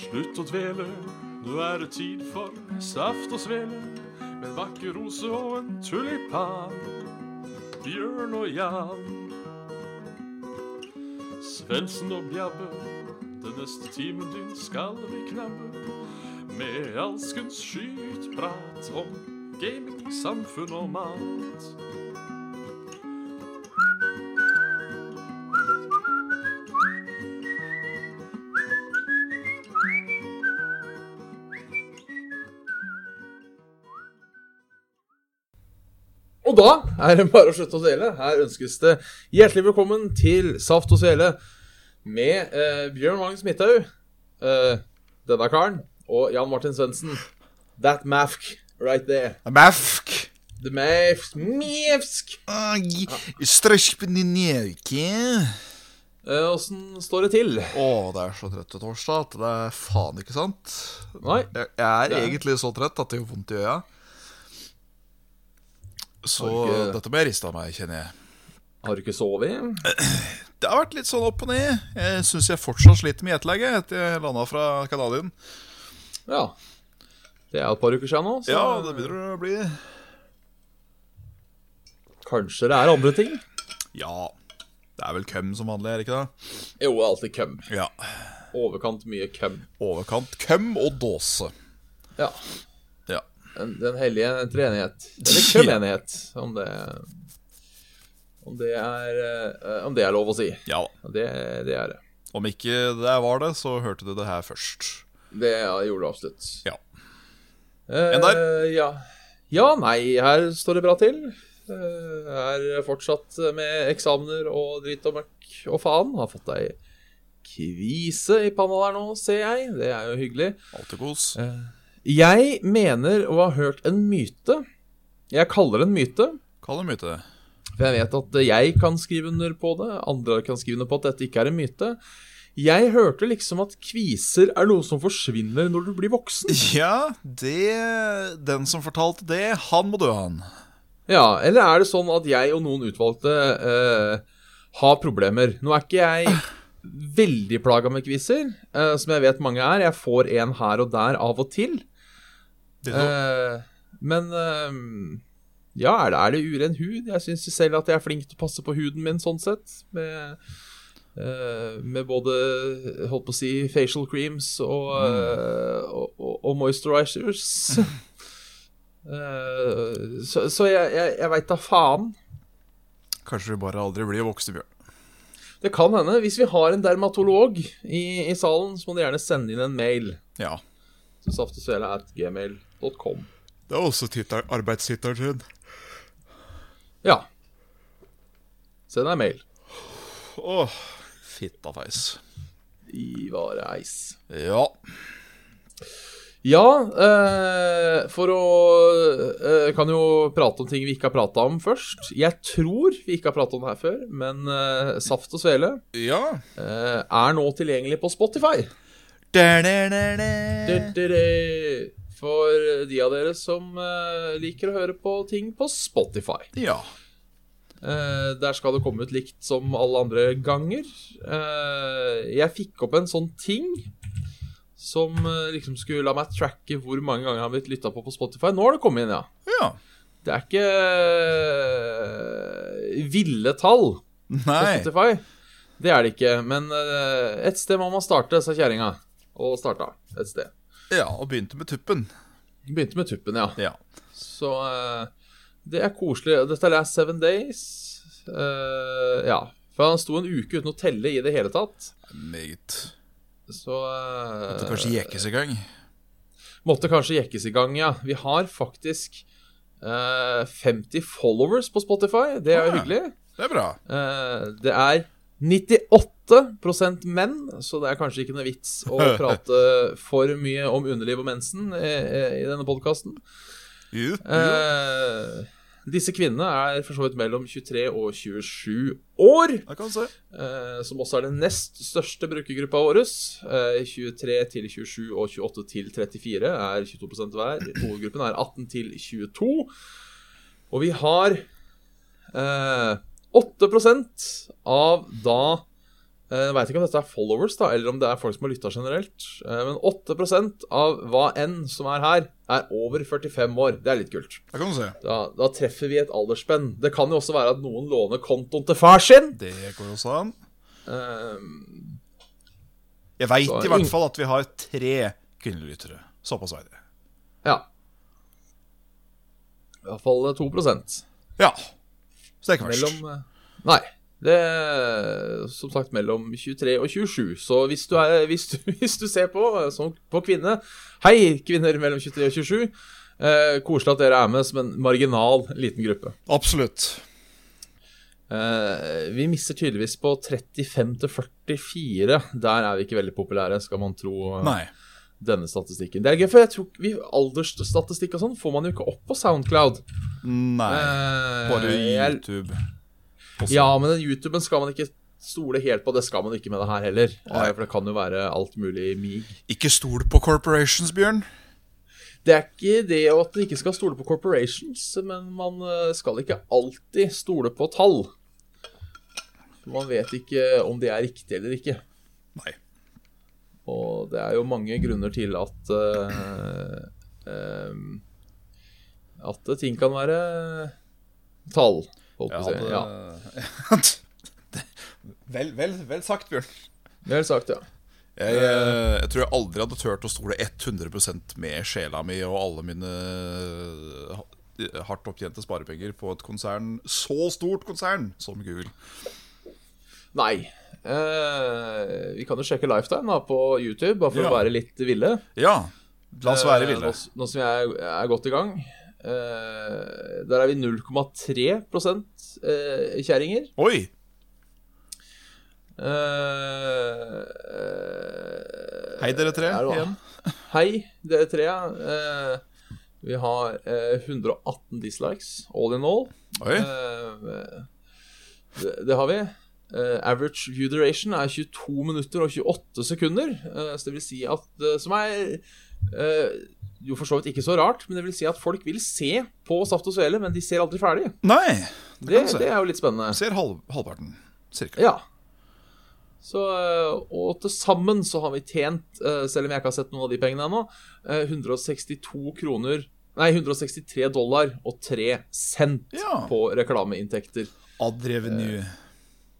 Slutt å dvele, nå er det tid for saft og svele. Med en vakker rose og en tulipan. Bjørn og Jan. Svendsen og Bjabbe, den neste timen din skal vi knabbe. Med alskens skytprat om gaming, samfunn og mat. Og da er det bare å slutte å dele. Her ønskes det hjertelig velkommen til Saft og Svele med eh, Bjørn Magnus Midthaug, eh, denne karen, og Jan Martin Svendsen. That mafk right there. Mafk! The mafsk, mafsk. Ai, Strøsjpninjauki. Eh, Åssen står det til? Å, det er så trøtt til torsdag at det er faen ikke sant. Nei, Jeg jeg er Det er- egentlig så trøtt at det gjør vondt i øya. Så Har ikke- dette må jeg riste av meg, kjenner jeg. har du ikke sovet? Det har vært litt sånn opp og ned. Jeg syns jeg fortsatt sliter med gjetelaget etter jeg landa fra Canadien. Ja. Det er et par uker siden nå, så Ja, det begynner å bli kanskje det er andre ting. Ja. Det er vel køm som vanlig, er det ikke det? Jo, det er alltid køm. Ja. Overkant mye køm. Overkant køm og dåse. Ja. Ja. Den, den hellige treenighet. Eller kømenighet, om det Om det er eh, Om det er lov å si. ja da. Det, det er det. Om ikke det var det, så hørte du det her først. Det ja, det gjorde det absolutt. Ja. Eh, En der. ja. ja, nei, her står det bra til. Eh, er fortsatt med eksamener og drit og møkk og faen. Har fått ei kvise i panna der nå, ser jeg. Det er jo hyggelig. Alltid kos. Jeg mener å ha hørt en myte. Jeg kaller det en myte. Kall det myte. For jeg vet at jeg kan skrive under på det, andre kan skrive under på at dette ikke er en myte. Jeg hørte liksom at kviser er noe som forsvinner når du blir voksen. Ja, det Den som fortalte det, han må dø, han. Ja, eller er det sånn at jeg og noen utvalgte eh, har problemer? Nå er ikke jeg veldig plaga med kviser, eh, som jeg vet mange er. Jeg får en her og der av og til. Eh, men eh, ja, er det, er det uren hud? Jeg syns selv at jeg er flink til å passe på huden min sånn sett. Med, eh, med både holdt på å si facial creams og, eh, og, og, og moisturizers. Eh, så, så jeg, jeg, jeg veit da faen. Kanskje vi bare aldri blir voksne, Bjørn. Det kan hende. Hvis vi har en dermatolog i, i salen, så må du gjerne sende inn en mail. Ja. Så saftesvele.gmail.com. Det er også arbeidstittelen sin. Ja. Send deg mail. Åh, fittafeis. Ivar Eis. Ja. Ja, eh, for å eh, Kan jo prate om ting vi ikke har prata om først. Jeg tror vi ikke har prata om det her før, men eh, Saft og Svele Ja. eh, er nå tilgjengelig på Spotify. Da-da-da-da. Du-du-du. For de av dere som eh, liker å høre på ting på Spotify. Ja. Eh, der skal det komme ut likt som alle andre ganger. Eh, jeg fikk opp en sånn ting som eh, liksom skulle la meg tracke hvor mange ganger jeg har blitt lytta på på Spotify. Nå har det kommet inn, ja. Ja. Det er ikke eh, ville tall på Nei. Spotify. Det er det ikke. Men eh, et sted må man starte, sa kjerringa. Og starta et sted. Ja, og begynte med tuppen. Begynte med tuppen, ja. Ja. Så eh, det er koselig. Dette er Seven Days. Eh, ja. For han sto en uke uten å telle i det hele tatt. Meget. Så eh, Det kanskje jekkes i gang. måtte kanskje jekkes i gang, ja. Vi har faktisk eh, 50 followers på Spotify. Det er jo Ah. hyggelig. Det er bra. Eh, det er 98 menn, så det er kanskje ikke noe vits å prate for mye om underliv og mensen eh, eh, i denne podkasten. Jo. Eh, disse kvinnene er for så vidt mellom 23 og 27 år, Da kan du se. eh, som også er den nest største brukergruppa vår. Eh, 23 til 27 og 28 til 34 er 22 hver. Hovedgruppen er 18 til 22. Og vi har eh, 8 av da Jeg veit ikke om dette er followers, da, eller om det er folk som har lytta generelt. Eh, Men 8 av hva enn som er her, er over 45 år. Det er litt kult. Det kan du se. Da, da treffer vi et aldersspenn. Det kan jo også være at noen låner kontoen til far sin. Det går også an. Eh, Jeg veit Så i hvert ing- fall at vi har tre kvinnelige lyttere. Såpass veit jeg. ja. I hvert fall eh, 2 Mellom Ja. Så det er ikke verst. eh, Nei. Det er som sagt mellom 23 og 27. Så hvis du, er, hvis du, hvis du ser på eh, som på kvinne Hei, kvinner mellom 23 og 27. Eh, koselig at dere er med som en marginal liten gruppe. Absolutt. Eh, vi mister tydeligvis på 35 til 44. Der er vi ikke veldig populære, skal man tro eh, Nei. denne statistikken. Det er gøy, for jeg tror ikke vi, aldersstatistikk og sånn får man jo ikke opp på Soundcloud. Nei. Eh, Bare jeg- YouTube. også. Ja, men den YouTuben skal man ikke stole helt på. Det skal man ikke med det her heller. Eh, For det kan jo være alt mulig mig. Ikke stol på corporations, Bjørn. Det er ikke det at man ikke skal stole på corporations, men man eh, skal ikke alltid stole på tall. For Man vet ikke om det er riktig eller ikke. Nei. Og det er jo mange grunner til at eh, em, At ting kan være tall, holdt på å si. Ja. vel, vel, vel sagt, Bjørn. Vel sagt, ja. Jeg, eh, jeg tror jeg aldri hadde turt å stole 100 med sjela mi og alle mine ha- hardt opptjente sparepenger på et konsern så stort konsern som Google. Nei. Eh, vi kan jo sjekke Lifetime da, på YouTube, bare for Ja. å være litt ville. Ja, la oss være Eh, nå ville. s- Nå som jeg er- er godt i gang. Eh, der er vi 0,3 eh, kjerringer. Oi! Eh, Hei, dere tre. er det- Igjen. Hei, dere tre. Eh, vi har eh, 118 dislikes all in all. Oi. Eh, det, det har vi. Eh, average view duration er 22 minutter og 28 sekunder. Eh, så det vil si at eh, Som er eh, jo for så vidt ikke så rart, men det vil si at folk vil se på Saft og Svele, men de ser aldri ferdig. Nei! Det Det, kan du se. det er jo litt spennende. Ser halv, halvparten, cirka. Ja. Så, eh, og til sammen så har vi tjent, eh, selv om jeg ikke har sett noen av de pengene ennå, eh, 162 kroner Nei, 163 dollar og 3 cent Ja. Eh. på reklameinntekter. Ad revenue.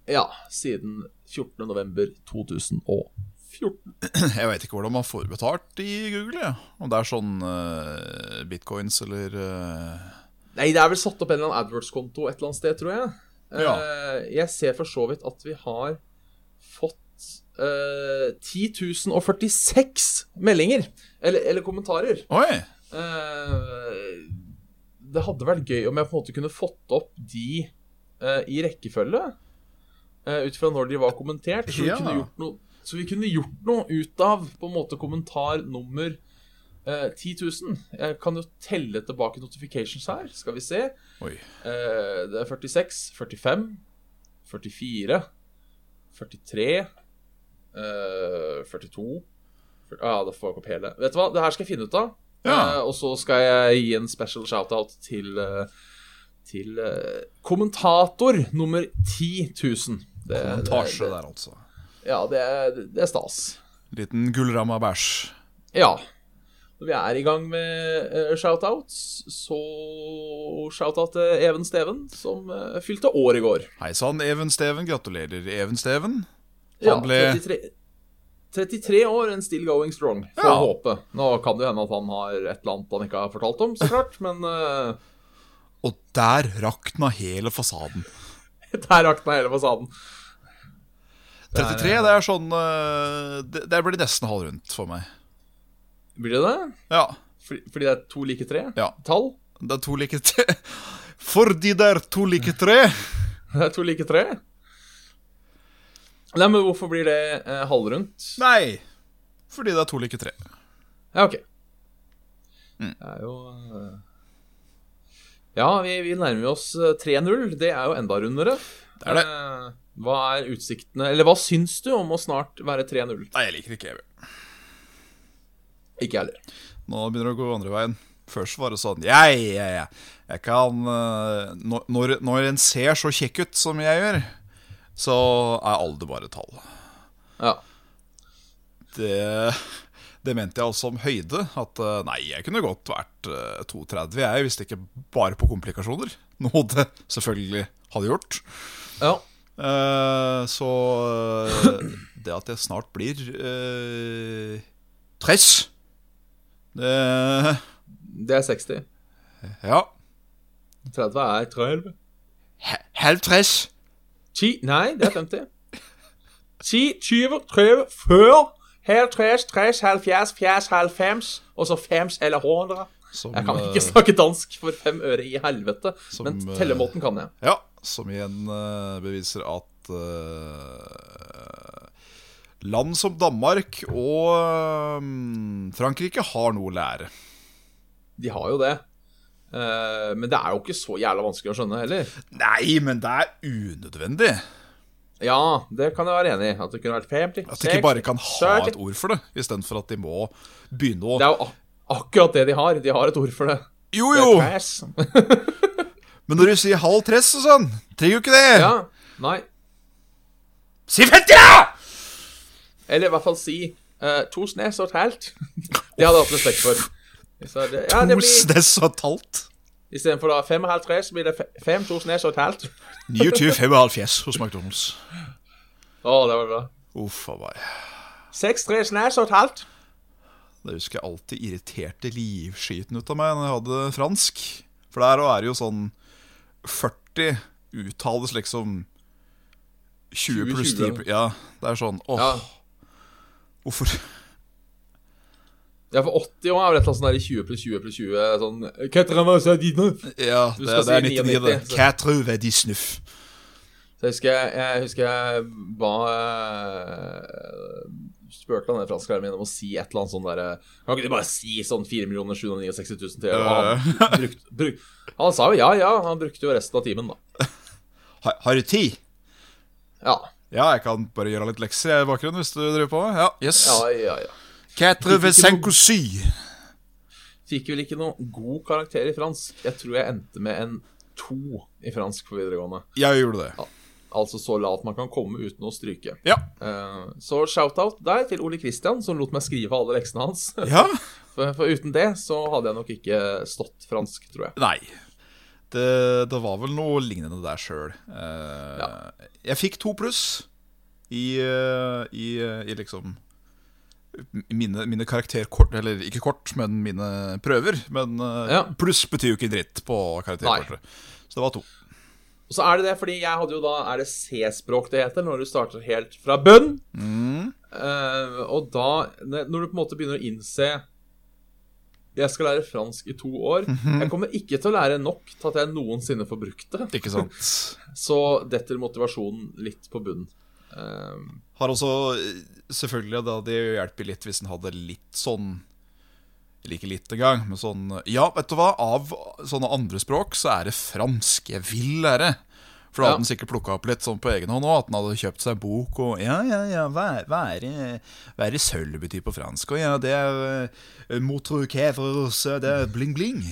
Ja, siden 14. november 2014. Jeg veit ikke hvordan man får betalt i Google. Ja. Om det er sånn eh, bitcoins eller eh, Nei, det er vel satt opp en eller annen AdWords-konto et eller annet sted, tror jeg. Eh, Ja. Jeg ser for så vidt at vi har fått eh, 10.046 meldinger, eller, eller kommentarer. Oi! Eh, det hadde vært gøy om jeg på en måte kunne fått opp de eh, i rekkefølge. eh, ut fra når de var kommentert. Så vi, Ja. kunne gjort noe, så vi kunne gjort noe ut av på en måte kommentar nummer eh, 10 000. Jeg kan jo telle tilbake notifications her. Skal vi se. Oi. Eh, det er 46, 45, 44, 43 eh, 42 fyr- Ja, da får jeg opp hele. Vet du hva, det her skal jeg finne ut av. Ja. Eh, og så skal jeg gi en special shout-out til, eh, til eh, kommentator nummer 10 000. Det, Montasje det, der, altså. det, ja, det er, det er stas. Liten gullramma bæsj. Ja. Når vi er i gang med eh, shout-outs, så shout-out til Even Steven, som eh, fylte år i går. Hei sann, Even Steven. Gratulerer, Even Steven. Ja, Han ble- 33, 33 år and still going strong, får Ja. håpe. Nå kan det jo hende at han har et eller annet han ikke har fortalt om, så klart, men eh, Og der rakna hele fasaden. der rakna hele fasaden. 33, det er sånn eh, Det, det blir nesten halv rundt for meg. Blir det det? Ja. Fordi, fordi det er to like tre? Ja. Tall? Det er to like tre Fordi det er to like tre! Det er to like tre? Nei, men hvorfor blir det eh, halvrundt? Nei! Fordi det er to like tre. Ja, ok. Mm. Det er jo eh, Ja, vi, vi nærmer oss eh, 3-0. Det er jo enda rundere. Det er det. Eh, Hva er utsiktene Eller hva syns du om å snart være 3-0? Nei, jeg liker ikke Even. Ikke jeg heller. Nå begynner det å gå andre veien. Først var det sånn Ja, ja, ja. Jeg kan eh, når- når, når en ser så kjekk ut som jeg gjør, så er alder bare tall. Ja. Det, det mente jeg også om høyde. At eh, nei, jeg kunne godt vært eh, 2,30 jeg, hvis det ikke bare på komplikasjoner. Noe det selvfølgelig hadde gjort. ja. Eh, så eh, det at jeg snart blir uh, Tress det, Det er 60. Ja. 30 er 12. he- Halv tress. 10 Nei, det er 50. 10, 20, 30, 40, 50, 30, 70, 80, 90, og så 50 eller 100. Som, Jeg kan eh, ikke snakke dansk for fem øre i helvete, Som, men eh, tellemåten kan jeg. Ja, som igjen eh, beviser at eh, land som Danmark og eh, Frankrike har noe å lære. De har jo det. Eh, men det er jo ikke så jævla vanskelig å skjønne heller. Nei, men det er unødvendig. Ja, det kan jeg være enig i. At det kunne vært 50, At 60 de ikke bare kan ha søk. et ord for det, istedenfor at de må begynne å Det er jo ak akkurat det de har. De har et ord for det. Jo, Det er jo! trash. Men når du sier halv tress og sånn, trenger jo ikke det. Ja, nei. Si 50, da! Eller i hvert fall si eh, to snes og et helt. Det hadde jeg hatt respekt for. Så det, ja, det To blir, sness og et halvt. istedenfor da fem og halv tre, så blir det fe- fem, to snes og et helt. 29,55 hos McDonald's. Å, det var bra. Uff a meg. Seks, tre snes og et halvt. Det husker jeg alltid irriterte livskiten ut av meg når jeg hadde fransk. For der er det jo sånn 40 uttales liksom 20 pluss 20, 10 Ja, det er sånn åh, Ja, hvorfor ja for 80 år er vel et eller annet sånn der i 20 pluss 20 pluss 20 sånn «Quatre-vingt, så er det nå?» Ja, Du det, skal det er si 99, 99, det. så- Quatre vedisnuf. Så jeg husker jeg, jeg, husker jeg ba eh, Spurte han den fransklæreren min om å si et eller annet sånn derre Kan ikke du bare si sånn 4 769 000 til? Og han, brukte- bruk, han sa jo ja, ja. Han brukte jo resten av timen, da. Har, har du tid? Ja. Ja, jeg kan bare gjøre litt lekser jeg i bakgrunnen hvis du driver på. Ja, yes. ja, ja, ja. Quatre vedcinq ou six. Fikk vel ikke noen god karakter i fransk. Jeg tror jeg endte med en to i fransk på videregående. Jeg gjorde det. Altså så lavt man kan komme uten å stryke. Ja. Eh, så shout-out der til Ole Kristian, som lot meg skrive alle leksene hans. ja. For, for uten det så hadde jeg nok ikke stått fransk, tror jeg. Nei. Det, det var vel noe lignende der sjøl. Eh, Ja. Jeg fikk to pluss i, eh, i, eh, i liksom mine, mine karakterkort Eller ikke kort, men mine prøver. Men eh, Ja. pluss betyr jo ikke dritt på karakterkortet. Så det var to. Og så er det det, fordi jeg hadde jo da Er det C-språk det heter, når du starter helt fra bunn? Eh, og da Når du på en måte begynner å innse Jeg skal lære fransk i to år. Jeg kommer ikke til å lære nok til at jeg noensinne får brukt det. Ikke sant? Så detter motivasjonen litt på bunnen. Ehm, Har også eh, selvfølgelig da Det hjelper litt hvis en hadde litt sånn eller ikke litt engang, men sånn Ja, vet du hva, av sånne andre språk så er det fransk jeg vil lære. For Ja. da hadde han sikkert plukka opp litt sånn på egen hånd òg, at han hadde kjøpt seg bok og Ja, ja, ja, hva er- hva er det- hva er det sølv betyr på fransk? Og ja, det er eh, Motro Kevre, så det er bling, bling.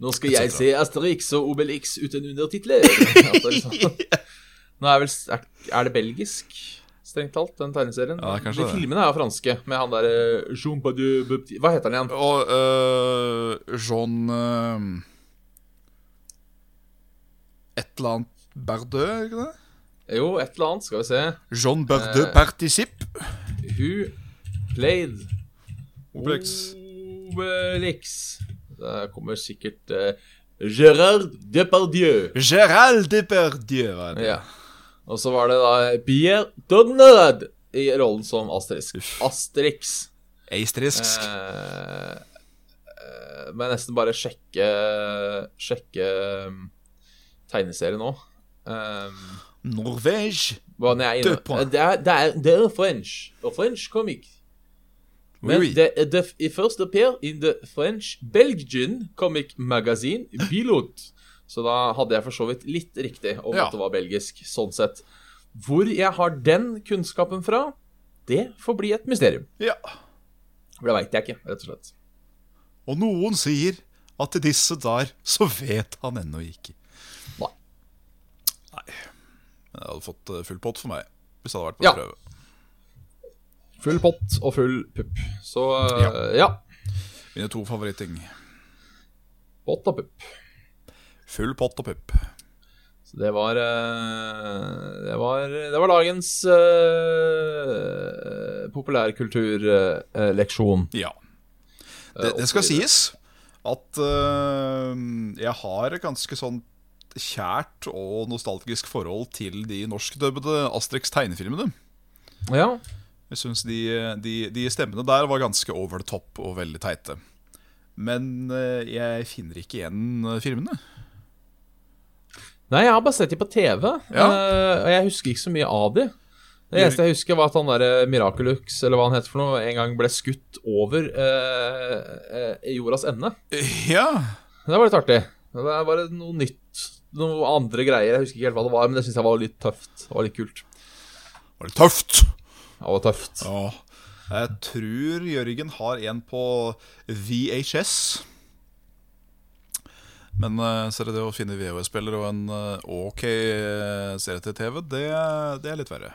nå skal Et jeg se Asterix og Obelix uten undertitler. altså, liksom. Nå er, vel, er, er det belgisk, strengt talt, den tegneserien? Ja, det er kanskje De det. filmene er jo franske, med han derre Jean Badu Bubti- Hva heter han igjen? Og øh, Jean øh, Et eller annet Bardeux, ikke det? Jo, et eller annet, skal vi se. Jean Bardeux Eh. Particip. Who played Obelix. Obelix? Det kommer sikkert eh, Gérard Depardieu. Gérald Depardieu var det. Ja. Og så var det da Pierre Donald i rollen som Asterix. Asterix. Eistrisk. Eh, eh, må jeg nesten bare sjekke Sjekke um, tegneserien nå. Um, Norvège. hva når jeg er Død på. inne Det er, det er, det er French. Og French comic. Men Oui. det, det it first appear in the French Belgian comic magazine Pilot. Så da hadde jeg for så vidt litt riktig om Ja. at det var belgisk, sånn sett. Hvor jeg har den kunnskapen fra, det får bli et mysterium. Ja. For det veit jeg ikke, rett og slett. Og noen sier at i disse der så vet han ennå ikke. Nei. Nei. Men det hadde hadde fått eh, full pott for meg. Hvis det hadde vært på Ja. prøve. Full pott og full pupp. Så eh, ja. Mine to favoritting. Pott og pupp. Full pott og pupp. Så det var eh, Det var, det var dagens eh, populærkulturleksjon. Ja. Eh, Det, det skal sies at eh, jeg har et ganske sånn kjært og nostalgisk forhold til de norskdøbbede Asterix tegnefilmene. Ja. Jeg syns de, de, de stemmene der var ganske over the top og veldig teite. Men eh, jeg finner ikke igjen eh, filmene. Nei, jeg har bare sett dem på TV, Ja. eh, og jeg husker ikke så mye av dem. Det eneste jeg husker, var at han derre Miraculux, eller hva han heter for noe, en gang ble skutt over eh, eh, jordas ende. Ja, Det var litt artig. Det var bare noe nytt. Noe andre greier. Jeg husker ikke helt hva det var, men det syns jeg var litt tøft. Det var litt kult. var det tøft? Det var tøft. Ja. Jeg tror Jørgen har en på VHS. Men eh, ser du det å finne VHS-spiller og en eh, OK eh, serie til TV, det, det er litt verre.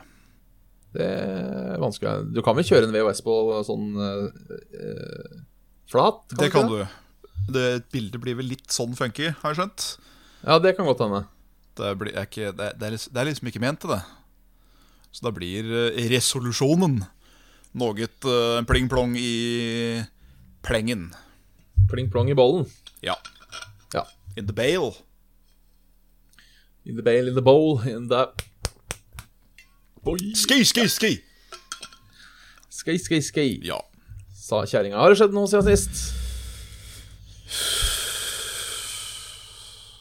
Det er vanskelig. Du kan vel kjøre en VHS på sånn eh, eh, flat? Det kan ikke du. Det bildet blir vel litt sånn funky, har jeg skjønt. Ja, det kan godt hende. Det, blir, er ikke, det, er- det, er, liksom- det er liksom ikke ment til det. Så da blir eh, resolusjonen noe eh, pling-plong i plengen. Pling plong i bollen. Ja. Ja. In the bale. In the bale, in the bowl, in the Boing. Ski, ski, ski! Skei, skei, skei, Ja. sa kjerringa. Har det skjedd noe siden sist?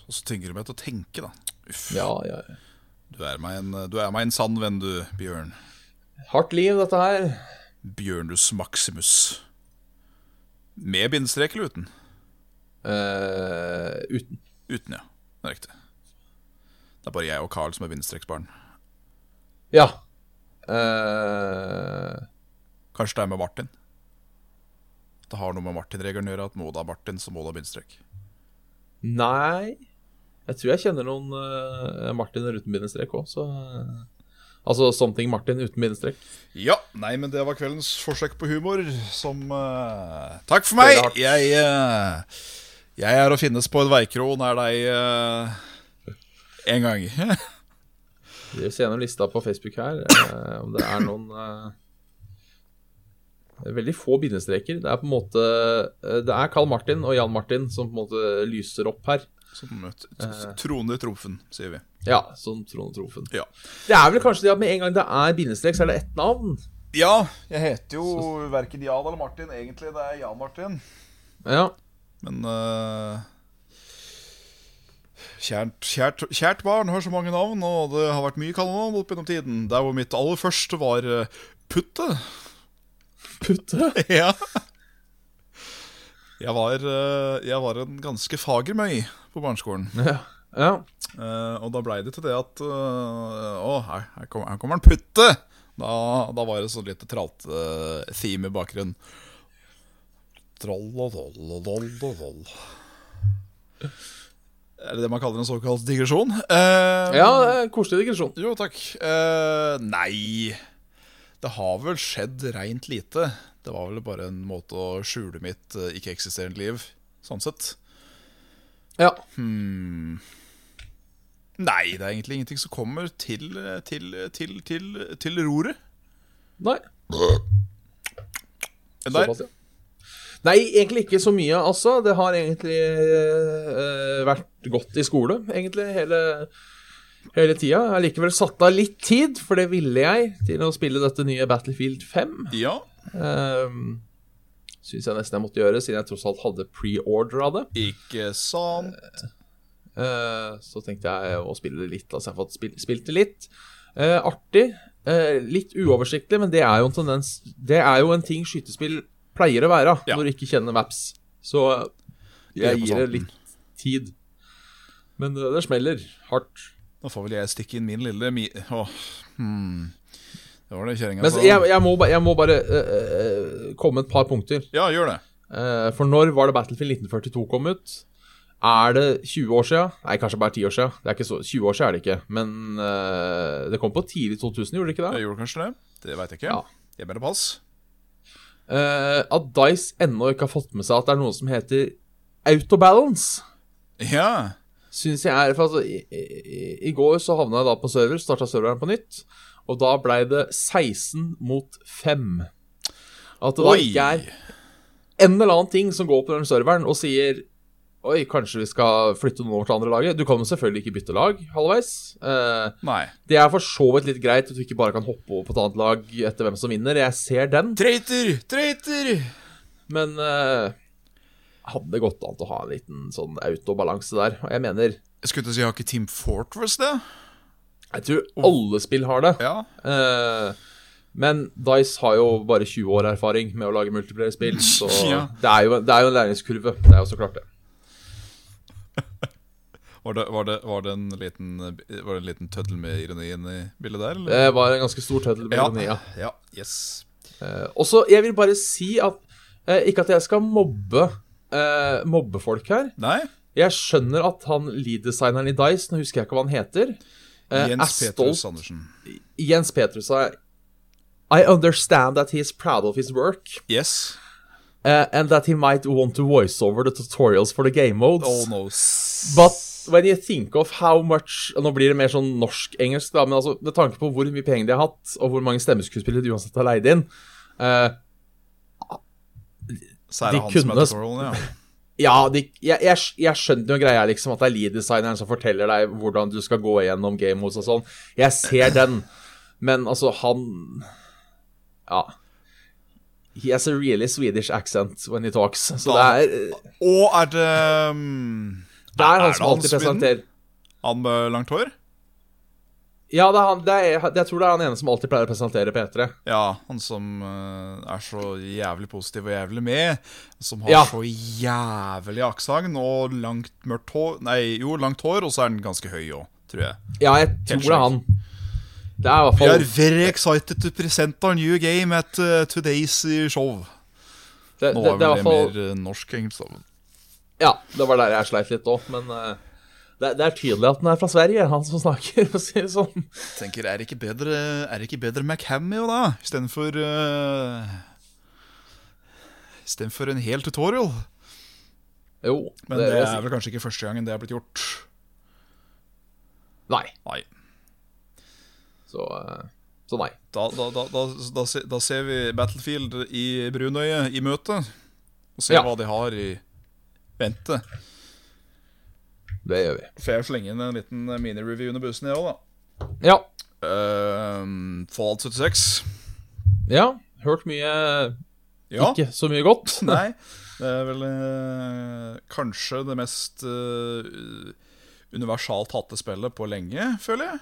Og så tvinger du meg til å tenke, da. Uff. Ja, ja. ja. Du, er meg en, du er meg en sann venn, du, Bjørn. Hardt liv, dette her. Bjørnus Maximus. Med bindestrek eller uten? Eh, uten. Uten, ja. Det er riktig. Det er bare jeg og Carl som er bindestreksbarn. Ja. Eh, Kanskje det er med Martin? Det har noe med Martin-regelen å gjøre, at må du ha Martin, så må du ha bindestrek. Nei Jeg tror jeg kjenner noen eh, Martiner uten bindestrek òg, så eh, Altså Something Martin uten bindestrek. Ja, nei, men det var kveldens forsøk på humor som eh, Takk for Spiller meg! hardt. Jeg, eh, jeg er å finnes på en veikro nær deg eh, en gang. Vi ser gjennom lista på Facebook her eh, om det er noen eh, det er Veldig få bindestreker. Det er på en måte eh, Det er Carl Martin og Jan Martin som på en måte lyser opp her. Som eh, t- t- troner trumfen, sier vi. Ja, som Trond og Trofen. Ja. Det er vel kanskje det at med en gang det er bindestrek, så er det ett navn. ja, jeg heter jo verken Jan eller Martin, egentlig. Det er Jan Martin. Ja. Men eh, kjært, kjært, kjært barn har så mange navn, og det har vært mye kallenavn opp gjennom tiden. Der hvor mitt aller første var eh, Putte. Putte. ja. Jeg var, eh, jeg var en ganske fager møy på barneskolen. Ja. ja. Eh, og da blei det til det at eh, Å, her, her, kom, her kommer en putte! Da, da var det sånn litt tralt-theme i bakgrunnen. Troll og doll og doll og doll. Er det det man kaller en såkalt digresjon? Eh, ja det er en koselig digresjon. Jo, takk. Eh, nei Det har vel skjedd reint lite. Det var vel bare en måte å skjule mitt eh, ikke-eksisterende liv, sånn sett. Ja. Nei, det er egentlig ingenting som kommer til, til, til, til, til roret. Nei. Enn Såpass, ja. Nei, egentlig ikke så mye, altså. Det har egentlig eh, vært godt i skole, egentlig, hele, hele tida. Jeg har likevel satt av litt tid, for det ville jeg, til å spille dette nye Battlefield 5. Ja. Um, Syns jeg nesten jeg måtte gjøre, siden jeg tross alt hadde pre-order av det. Ikke sant? Eh, så tenkte jeg å spille det litt. Altså, jeg har fått spil spilt det litt. Eh, artig. Eh, litt uoversiktlig, men det er jo en tendens Det er jo en ting skytespill pleier å være Ja. når du ikke kjenner maps. Så jeg gir på det santen. litt tid. Men eh, det smeller hardt. Nå får vel jeg stikke inn min lille mi... Åh, hmm. Det var det kjerringa Men jeg, jeg, må, ba- jeg må bare eh, eh, komme et par punkter. Ja, gjør det. Eh, for når var det Battlefield 1942 kom ut? Er det 20 år sia? Nei, kanskje bare 10 år sia. Det er ikke så, 20 år sia er det ikke. Men eh, det kom på tidlig 2000, gjorde det ikke det? Jeg gjorde kanskje det. Det veit jeg ikke. Ja. Jeg mener pass. Eh, at Dice ennå ikke har fått med seg at det er noe som heter autobalance. Ja. Synes jeg er, for altså, i, i, I går så havna jeg da på server, starta serveren på nytt, og da blei det 16 mot 5. At det da ikke er en eller annen ting som går på den serveren og sier Oi, kanskje vi skal flytte noen over til andre laget. Du kan jo selvfølgelig ikke bytte lag halvveis. Eh, Nei. det er for så vidt litt greit at du ikke bare kan hoppe over på et annet lag etter hvem som vinner. Jeg ser den, Traitor! Traitor! men eh, hadde gått an til å ha en liten sånn autobalanse der. Og jeg mener Jeg skulle til å si, har ikke Team Fortress det? Jeg tror alle spill har det. Ja. Eh, men Dice har jo bare 20 år erfaring med å lage multiplayer-spill, så Ja. det, er jo, det er jo en læringskurve. Det er jo så klart, det. Var det, var det, var det en liten Var det en liten tøddel med ironi inni bildet der, eller? Det var en ganske stor tøddel med Eh, ironi, ja. ja. Yes. Eh, Og så, jeg vil bare si at eh, Ikke at jeg skal mobbe eh, Mobbe folk her. Nei? Jeg skjønner at han lead-designeren i Dice, nå husker jeg ikke hva han heter eh, er Jens stolt- Petrus Andersen. Jens Petrus er I understand that he is proud of his work, Yes. eh, and that he might want to voice over the tutorials for the game modes. Oh no. But when you think of how much og Nå blir det mer sånn norsk-engelsk, da, men altså, med tanke på hvor mye penger de har hatt, og hvor mange stemmeskuespillere de uansett har leid inn eh, Sære de Hans kunne- Metaforalen, ja. Ja, de, jeg, jeg, jeg skjønner jo greia, liksom, at det er lead-designeren som forteller deg hvordan du skal gå gjennom game modes og sånn. Jeg ser den, men altså, han Ja. He has a really Swedish accent when he talks, så det er, Og er det um, det er han det som alltid Sweden? presenterer han med langt hår? Ja, det er han, det er, jeg tror det er han ene som alltid pleier å presentere P3. Ja, han som eh, er så jævlig positiv og jævlig med. Som har Ja. så jævlig aksent og langt mørkt hår Nei, jo, langt hår, og så er han ganske høy òg, tror jeg. Ja, jeg tror det er han. Det er i hvert We are fall very excited to present our new game at eh, today's eh, show. Det, Nå det, det er i er vel det hvert fall mer eh, norsk engelsk. da. Ja, det var der jeg sleit litt òg, men eh, det, det er tydelig at den er fra Sverige, han som snakker, for å si det sånn. Tenker, er det ikke bedre, er det ikke bedre med cameo, da? Istedenfor uh, Istedenfor en hel tutorial. Jo, Men det, vil jeg si. er vel kanskje ikke første gangen det er blitt gjort. Nei. Nei. Så, eh, så nei. Da, da, da, da, da, se- da ser vi Battlefield i brunøye i møte, og ser Ja. hva de har i vente. Det gjør vi. Får jeg slenge inn en liten minireview under bussen, jeg òg, da? Ja. Ehm, Fallout 76. ja. Hørt mye Ja. Ikke så mye godt. Nei. Det er vel eh, kanskje det mest eh, universalt hatte spillet på lenge, føler jeg.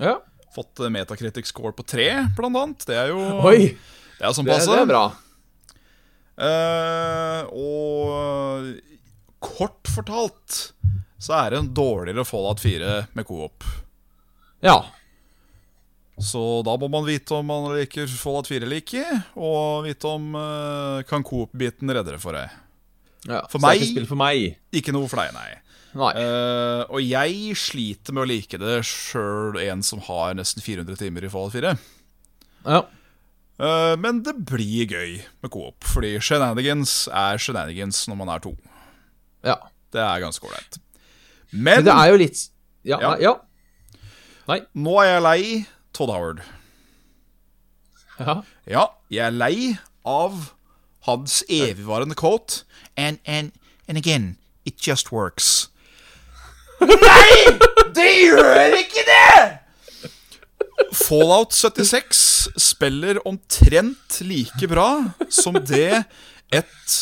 Ja. Fått eh, Metacritic score på tre, blant annet. Det er jo Oi! Det er sånn Det, passe. det er bra. Eh, og kort fortalt så er det en dårligere Fallout 4 med co-op. Ja. Så da må man vite om man liker Fallout 4 eller ikke, og vite om eh, kan co-op-biten redde det for deg. ja. For så det er meg- ikke spill for meg. Ikke noe for deg, nei. Nei. Eh, og jeg sliter med å like det sjøl en som har nesten 400 timer i Fallout 4. Ja. Eh, men det blir gøy med co-op, fordi shenanigans er shenanigans når man er to. ja. Det er ganske ålreit. Men Men det er jo litt Ja. Ja. Nei, ja. Nei. nå er jeg lei Todd Howard. Ja. Ja, jeg er lei av hans evigvarende quote And, and, and again, it just works. Nei! Det gjør ikke det! Fallout 76 spiller omtrent like bra som det et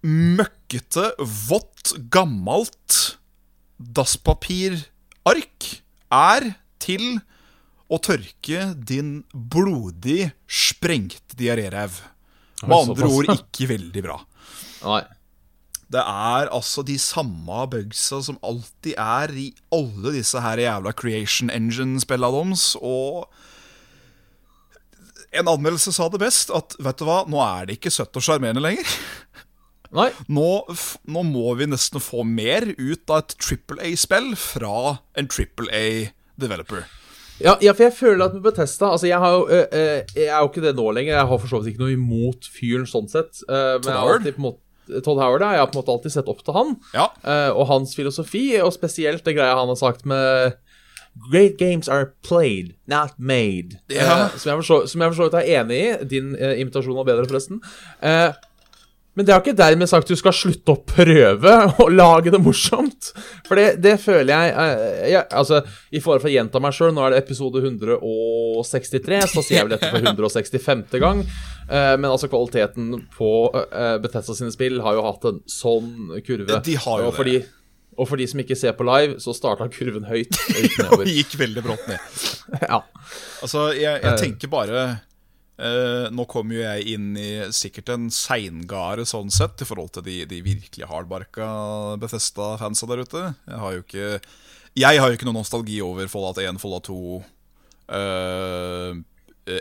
møkkete, vått, gammelt dasspapirark er til å tørke din blodig, sprengte diaréræv. Med Oi, andre såpass. ord ikke veldig bra. Nei. Det er altså de samme bugsa som alltid er i alle disse her jævla Creation Engine-spilla deres, og en anmeldelse sa det best, at vet du hva, nå er det ikke søtt og sjarmerende lenger. Nei. Nå, f nå må vi nesten få mer ut av et Triple A-spill fra en Triple A-developer. Ja, ja, for jeg føler at med Bethesda Altså, jeg, har jo, øh, øh, jeg er jo ikke det nå lenger. Jeg har for så vidt ikke noe imot fyren sånn sett. øh, men jeg har Howard? alltid på en måte eh, Todd Howard, ja. Jeg har på en måte alltid sett opp til han Ja. øh, og hans filosofi, og spesielt det greia han har sagt med Great games are played, not made. Ja. Eh, som jeg for så- som jeg for så vidt er enig i. Din eh, invitasjon var bedre, forresten. Eh, men det har ikke dermed sagt du skal slutte å prøve å lage det morsomt. For det, det føler jeg, eh, jeg Altså, i forhold til å gjenta meg sjøl, nå er det episode 163, så sier jeg vel dette for 165. gang. Eh, men altså, kvaliteten på uh, Bethesda sine spill har jo hatt en sånn kurve. De har jo og for det. de- og for de som ikke ser på live, så starta kurven høyt. og gikk Og nedover. gikk veldig brått ned. Ja. Altså, jeg, jeg tenker bare eh, Nå kommer jo jeg inn i sikkert en seingarde sånn sett, i forhold til de, de virkelig hardbarka Bethesda-fansa der ute. Jeg har jo ikke Jeg har jo ikke noe nostalgi over Fallout 1, Fallout 2, eh,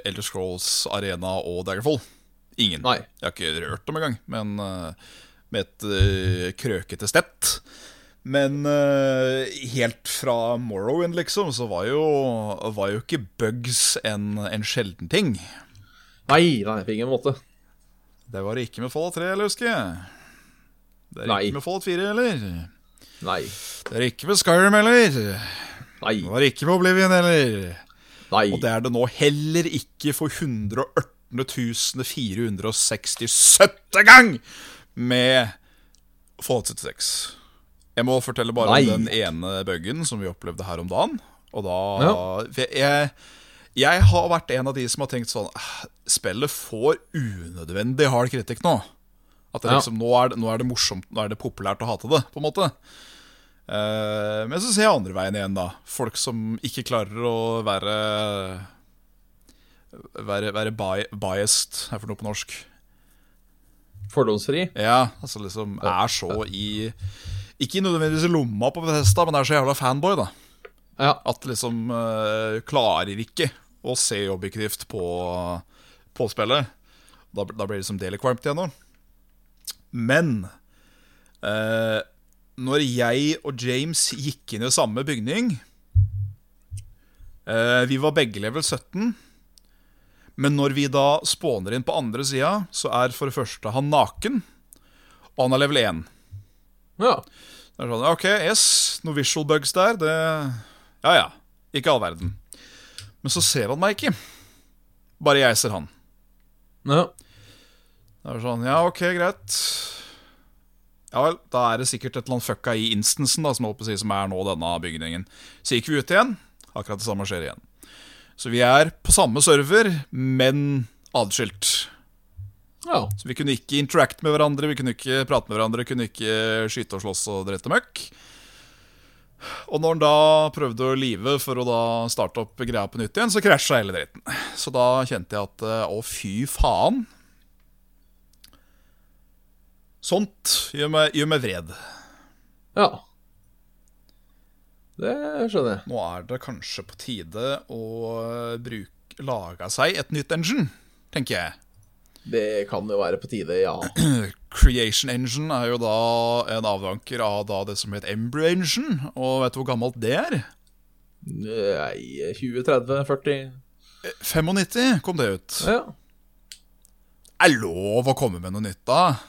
Elder Scrolls Arena og Daggerfall. Ingen. Nei. Jeg har ikke rørt dem engang, men eh, med et eh, krøkete stett. Men eh, helt fra Morrowind, liksom, så var jo, var jo ikke bugs en, en sjelden ting. Nei, nei, på ingen måte. Det var det ikke med Fallout 3, eller husker jeg. Det er det Nei. ikke med Fallout 4, eller. Nei. Det er det ikke med Skyrim, eller. Nei. Det var det ikke med Oblivion, eller. nei. Og det er det nå heller ikke for 118 467. gang med Fallout 76. Jeg må fortelle bare Nei. om den ene buggen som vi opplevde her om dagen. Og da Ja. for jeg, jeg har vært en av de som har tenkt sånn "Ah, Spillet får unødvendig hard kritikk nå. At det Ja. liksom, nå, er det, nå er det morsomt, nå er det populært å hate det, på en måte. Eh, men så ser jeg andre veien igjen, da. Folk som ikke klarer å være Være, være bi biased, er for noe på norsk. Fordomsfri. Ja, altså liksom er så i Ikke nødvendigvis i lomma på Bethesda, men er så jævla fanboy, da. Ja. At liksom eh, klarer ikke å se objektivt på, på spillet. Da, da blir det liksom Delekvarmt igjen nå. Men eh, når jeg og James gikk inn i samme bygning eh, Vi var begge level 17. Men når vi da spåner inn på andre sida, så er for det første han naken, og han er level 1. ja. Det er sånn, ok, yes, noen visual bugs der, det Ja ja, ikke all verden. Men så ser han meg ikke. Bare jeg ser han. ja. Det er sånn, ja, ok, greit. Ja vel, da er det sikkert et eller annet fucka i instansen, da, som, jeg holdt på å si, som er nå denne bygningen. Så gikk vi ut igjen. Akkurat det samme skjer igjen. Så vi er på samme server, men atskilt. ja. Så vi kunne ikke interact med hverandre, vi kunne ikke prate med hverandre, kunne ikke skyte og slåss og drette møkk. Og når han da prøvde å live for å da starte opp greia på nytt igjen, så krasja hele dritten. Så da kjente jeg at eh, å, fy faen. Sånt gjør meg, gjør meg vred. Ja. Det skjønner jeg. Nå er det kanskje på tide å eh, bruke, lage seg et nytt engine, tenker jeg. Det kan jo være på tide, ja. Creation Engine er jo da en avdanker av da det som het Embryo Engine. Og vet du hvor gammelt det er? Nei, 20, 30, 40 95 kom det ut. Ja. Er lov å komme med noe nytt da? Eh,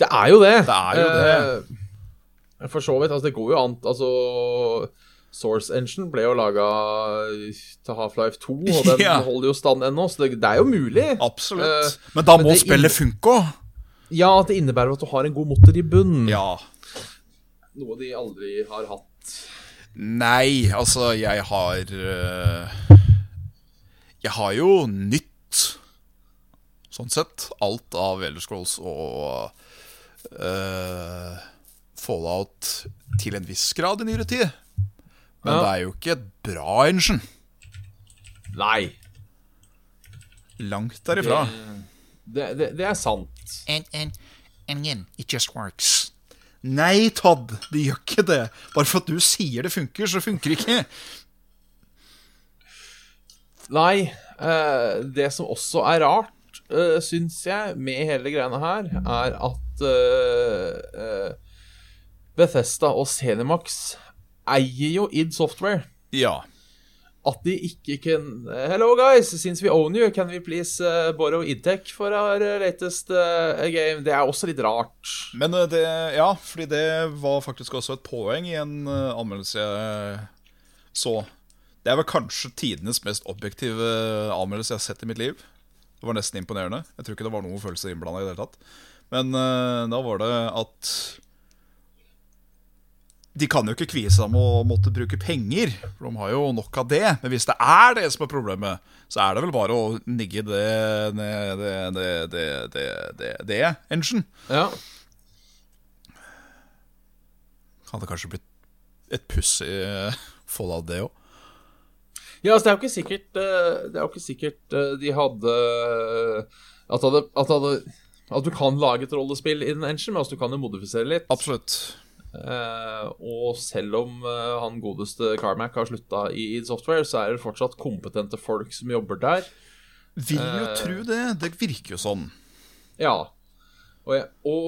Det er jo det. Det er jo det. for så vidt. Altså, det går jo an Altså Source Engine ble jo laga til Half-Life 2, og den Ja. holder jo stand ennå, så det, det er jo mulig. Absolutt. Eh, Men da men må det spillet funke òg. Ja, at det innebærer at du har en god motor i bunnen. Ja. Noe de aldri har hatt. Nei, altså, jeg har eh, Jeg har jo nytt, sånn sett, alt av Elder Scrolls og eh, Fallout til en viss grad i nyere tid. Men Ja. det er jo ikke et bra engine. Nei. Langt derifra. Det, det, det er sant. and and and again, it just works. Nei, Todd, det gjør ikke det. Bare for at du sier det funker, så funker det ikke. Nei, eh, det som også er rart, uh, syns jeg, med hele greiene her, er at at eh, eh, Bethesda og Zenimax eier jo id Software. Ja. At de ikke kan eh, Hello, guys! Since we own you, can we please eh, borrow id-tech for our latest eh, game? Det er også litt rart. Men eh, det, ja, fordi det var faktisk også et poeng i en eh, anmeldelse jeg så. Det er vel kanskje tidenes mest objektive anmeldelse jeg har sett i mitt liv. Det var nesten imponerende. Jeg tror ikke det var noen følelser innblanda i det hele tatt. Men eh, da var det at de kan jo ikke kvie seg med å måtte bruke penger, for de har jo nok av det. Men hvis det er det som er problemet, så er det vel bare å nigge det ned- det, det, det, det, det, det engine. Ja. Hadde kanskje blitt et pussig eh, fallout, det òg. Ja, altså, det er jo ikke sikkert eh, Det er jo ikke sikkert eh, de hadde eh, At, det hadde, at, det hadde, at du kan lage et rollespill i den engine, men altså, du kan jo modifisere litt. Absolutt. Eh, og selv om eh, han godeste Carmack har slutta i id Software, så er det fortsatt kompetente folk som jobber der. Vil jo tro det. Det virker jo sånn. Ja. Og, jeg, og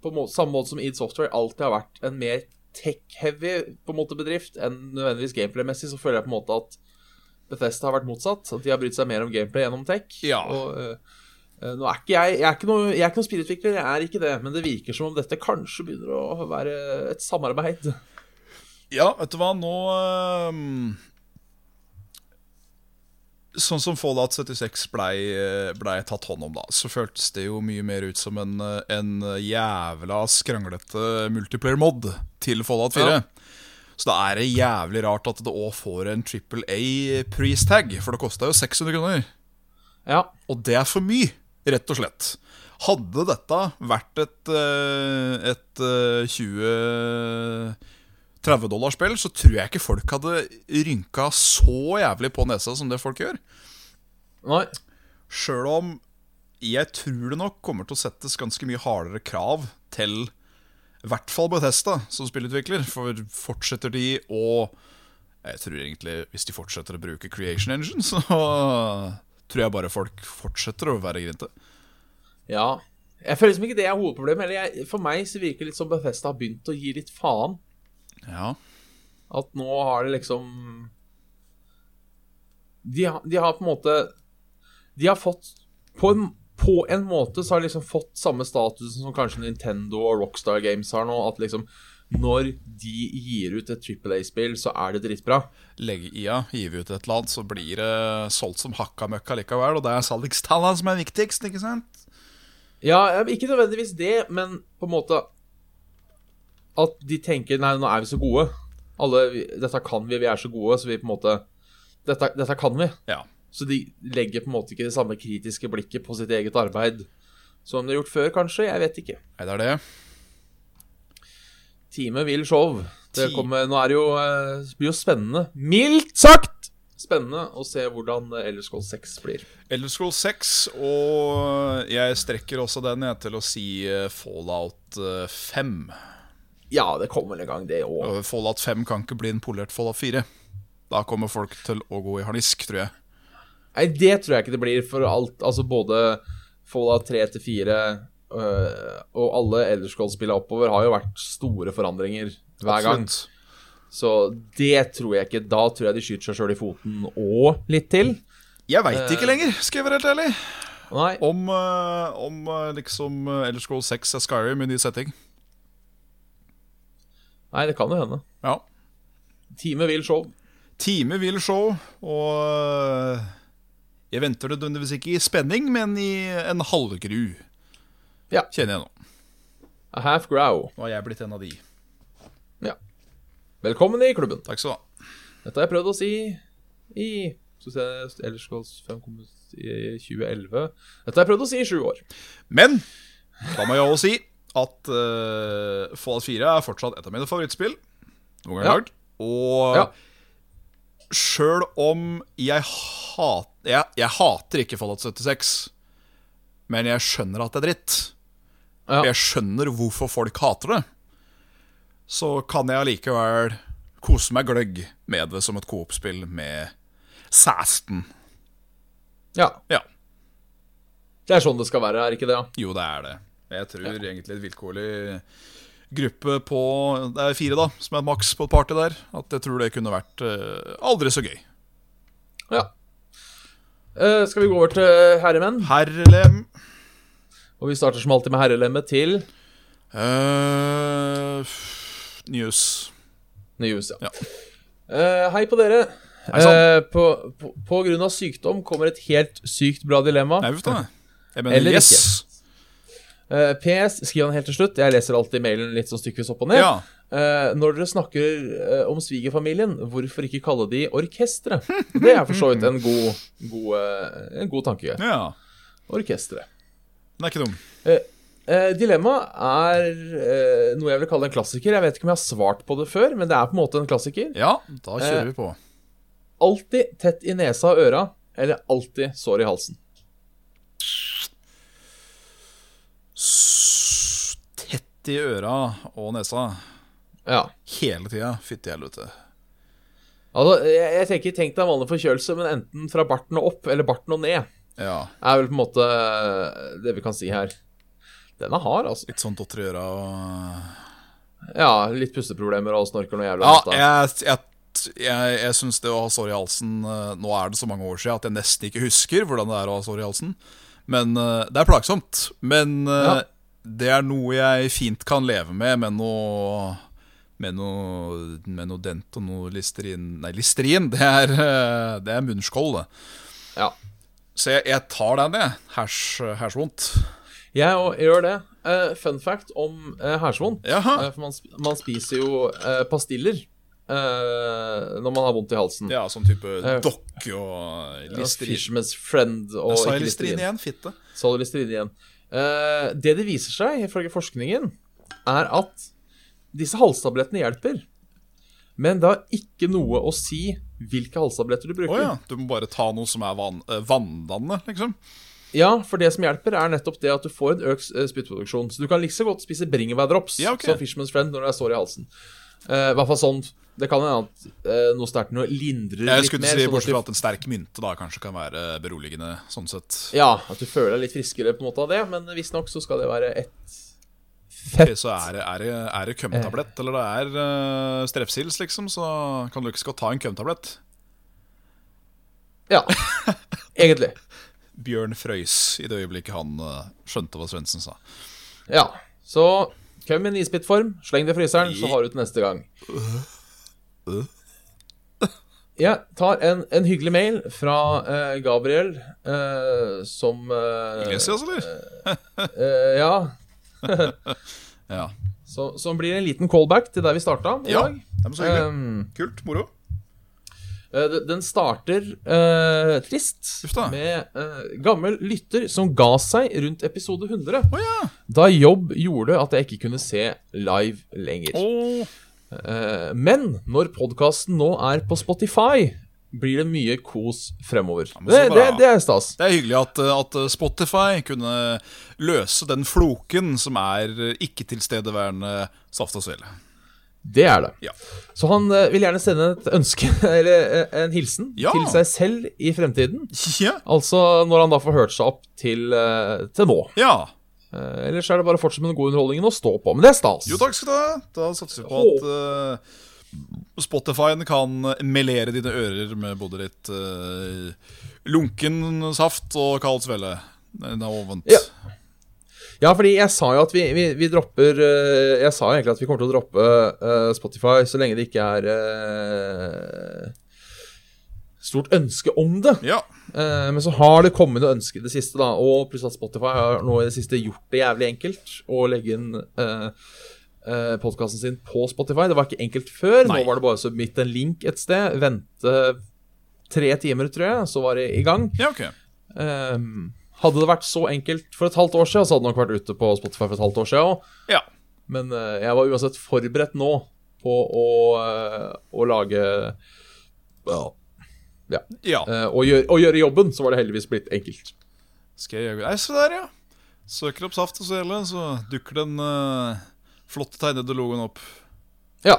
på må samme måte som id Software alltid har vært en mer tech-heavy på en måte bedrift enn nødvendigvis gameplay-messig, så føler jeg på en måte at Bethesda har vært motsatt. At de har brydd seg mer om gameplay gjennom tech. Ja. Og, eh, eh, nå er ikke jeg, jeg er ikke noe, jeg er ikke noen spillutvikler, jeg er ikke det, men det virker som om dette kanskje begynner å være et samarbeid. Ja, vet du hva, nå ehm, Sånn som Fallout 76 blei ble tatt hånd om, da, så føltes det jo mye mer ut som en, eh, en jævla skranglete multiplayer mod til Fallout 4. Ja. Så da er det jævlig rart at det òg får en trippel A-price tag, for det kosta jo 600 kroner. Ja. Og det er for mye, rett og slett. Hadde dette vært et, eh, et 20-30 dollars spill, så tror jeg ikke folk hadde rynka så jævlig på nesa som det folk gjør. Nei. Sjøl om jeg tror det nok kommer til å settes ganske mye hardere krav til i hvert fall Bethesda som spillutvikler. For fortsetter de å Jeg tror egentlig hvis de fortsetter å bruke Creation Engine, så tror jeg bare folk fortsetter å være grinte. Ja. Jeg føler liksom ikke det er hovedproblemet. Eller jeg, for meg så virker det litt som Bethesda har begynt å gi litt faen. Ja. At nå har det liksom De, har- de har på en måte De har fått på en, på en måte så har de liksom fått samme statusen som kanskje Nintendo og Rockstar Games har nå. At liksom når de gir ut et Triple A-spill, så er det dritbra. Legge i ja, gir vi ut et eller annet, så blir det solgt som hakka møkka likevel. Og det er salgstallene som er viktigst, ikke sant? Ja, ikke nødvendigvis det, men på en måte At de tenker Nei, nå er vi så gode. Alle, vi- dette kan vi, vi er så gode, så vi på en måte Dette, dette kan vi. Ja. Så de legger på en måte ikke det samme kritiske blikket på sitt eget arbeid som de har gjort før, kanskje. Jeg vet ikke. Nei, det er det. Time vil show. Det Ti- kommer, nå er det jo, eh, det blir jo spennende. Mildt sagt spennende å se hvordan eh, Ellers Gold 6 blir. Elder Scrolls 6, og jeg strekker også den jeg, til å si eh, Fallout eh, 5. Ja, det kommer vel en gang, det òg. Og Fallout 5 kan ikke bli en polert Fallout 4. Da kommer folk til å gå i harnisk, tror jeg. Nei, det tror jeg ikke det blir for alt. Altså både Fallout 3 til 4 øh, og alle Elderscroll-spillene oppover har jo vært store forandringer hver gang. Absolutt. Så det tror jeg ikke. Da tror jeg de skyter seg sjøl i foten og litt til. Jeg veit Eh. ikke lenger, skal jeg være helt ærlig. Nei. Om, eh, om eh, liksom eh, Elder Scrolls 6 er Skyrim i ny setting. Nei, det kan jo hende. Ja. Time vil show. Time vil show, og eh, jeg venter nødvendigvis ikke i spenning, men i en halvgru. Ja. Kjenner jeg nå. A half grow. Nå har jeg blitt en av de. Ja. Velkommen i klubben. Takk skal du ha. Dette har jeg prøvd å si i Skal vi se Elderscrolls 5 kom ut i 2011. Dette har jeg prøvd å si i sju år. Men da må jeg også si at eh, Fallout 4 er fortsatt et av mine favorittspill. Noen ganger Ja. lagd. Og Ja. sjøl om jeg, hat, jeg, jeg hater ikke Fallout 76, men jeg skjønner at det er dritt. Ja. Jeg skjønner hvorfor folk hater det. Så kan jeg allikevel kose meg gløgg med det som et coop-spill med Sæsten. ja. Ja, Det er sånn det skal være, er ikke det? ja? jo, det er det. Jeg tror egentlig et vilkårlig gruppe på Det er fire, da, som er et maks på et party der. At jeg tror det kunne vært eh, aldri så gøy. Ja. Eh, skal vi gå over til herremenn? Herrelem Og vi starter som alltid med herrelemmet til eh, f- News. Nyhus, ja. Ja. Eh, hei på dere. Hei sann. Eh, på, på, på grunn av sykdom kommer et helt sykt bra dilemma. Nei, uff da. Jeg mener Eller yes. Eh, PS, skriv han helt til slutt. Jeg leser alltid mailen litt sånn stykkevis opp og ned. Ja. Eh, når dere snakker eh, om svigerfamilien, hvorfor ikke kalle de orkestre? Det er for så vidt en god, god, eh, en god tanke. ja. Orkestre. Den er ikke dum. Eh, dilemma er eh, noe jeg vil kalle en klassiker. Jeg vet ikke om jeg har svart på det før, men det er på en måte en klassiker. Ja, da kjører vi på. Alltid tett i nesa og øra, eller alltid sår i halsen. S- Tett i øra og nesa Ja. hele tida. Fytti helvete. Altså, jeg, jeg tenker Tenk deg en vanlig forkjølelse, men enten fra barten og opp eller barten og ned. Ja. er vel på en måte eh, det vi kan si her. Den er hard, altså. Litt sånn dotter i øra og Ja, litt pusteproblemer og snorker noe jævla. godt, da. Ja, jeg, jeg, jeg, jeg syns det å ha sår i halsen eh, Nå er det så mange år siden at jeg nesten ikke husker hvordan det er å ha sår i halsen. Men eh, Det er plagsomt. Men eh, Ja. det er noe jeg fint kan leve med, med noe med noe, med noe dent og noe listerin Nei, listerin, det er, eh, det er munnskål, det. Ja. Så jeg, jeg tar den, jeg. Hæsj hæsj vondt. Jeg òg gjør det. Eh, fun fact om uh, hærsvondt. Jaha. Eh, for man, sp- man spiser jo eh, pastiller eh, når man har vondt i halsen. Ja, sånn type dokke og listerin. Fisherman's friend Eh. og Jeg sa ikke jeg listerin Listerine. igjen, fitte. Så hadde Listerine igjen. Eh, det det viser seg, ifølge forskningen, er at disse halstablettene hjelper. Men det har ikke noe å si hvilke halstabletter du Å bruker. ja. Du må bare ta noe som er vann, eh, vanndannende, liksom. Ja, for det som hjelper, er nettopp det at du får en økt eh, spyttproduksjon. Så du kan like så godt spise bringebærdrops Ja, ok. som Fishman's Friend når det er sår i halsen. Eh, I hvert fall sånn Det kan hende at eh, noe sterkt noe lindrer Jeg litt skulle mer. til å si sånn at Bortsett du- fra at en sterk mynte da kanskje kan være beroligende, sånn sett. Ja, at du føler deg litt friskere på en måte av det, men visstnok så skal det være ett Ok, Så er det, er det, er det kømtablett, eller det er eh, strepsils, liksom, så kan du ikke skal ta en kømtablett. Ja, egentlig. Bjørn frøys i det øyeblikket han eh, skjønte hva Svendsen sa. Ja. Så kom i en isbitform, sleng det i fryseren, så har du det neste gang. Uh. Jeg tar en, en hyggelig mail fra eh, Gabriel, eh, som eh, Iglesias, altså, eller? Eh, ja. Ja. Så, som blir en liten callback til der vi starta i ja. dag. Det er så hyggelig. Um, Kult. Moro. eh, d- den starter eh, trist Uff da. med eh, gammel lytter som ga seg rundt episode 100, Å ja. da jobb gjorde at jeg ikke kunne se live lenger. Å. Eh, men når podkasten nå er på Spotify, blir det mye kos fremover. men Det, så det, bra. det er stas. Det er hyggelig at, eh, at Spotify kunne løse den floken som er eh, ikke-tilstedeværende Saft og Svele. Det er det. Ja. Så han eh, vil gjerne sende et ønske, eller eh, en hilsen, Ja. til seg selv i fremtiden. Ja. Altså når han da får hørt seg opp til, eh, til nå. ja. Eh, ellers er det bare å fortsette med den gode underholdningen og stå på. Men det er stas. Jo, takk skal du ha. Da satser vi på at eh, Spotifyen kan melere dine ører med både litt eh, lunken saft og kald svelle. Nei, Det er ovent. Ja. Ja, fordi jeg sa jo at vi, vi, vi dropper eh, Jeg sa jo egentlig at vi kommer til å droppe eh, Spotify så lenge det ikke er eh, stort ønske om det. Ja. Eh, men så har det kommet noe ønske i det siste, da. Og pluss at Spotify har nå i det siste gjort det jævlig enkelt å legge inn uh, podkasten sin på Spotify. Det var ikke enkelt før. Nei. Nå var det bare å submitte en link et sted. Vente tre timer, tror jeg, så var det i gang. ja, ok. Eh, hadde det vært så enkelt for et halvt år siden, så hadde det nok vært ute på Spotify for et halvt år siden òg. Ja. Men eh, jeg var uansett forberedt nå på å, eh, å lage ja, ja. eh, å, gjøre, å gjøre jobben, så var det heldigvis blitt enkelt. Skal jeg gjøre Nei, se der, ja. Søker opp saft og svele, så dukker den eh, flotte tegnede logoen opp. Ja.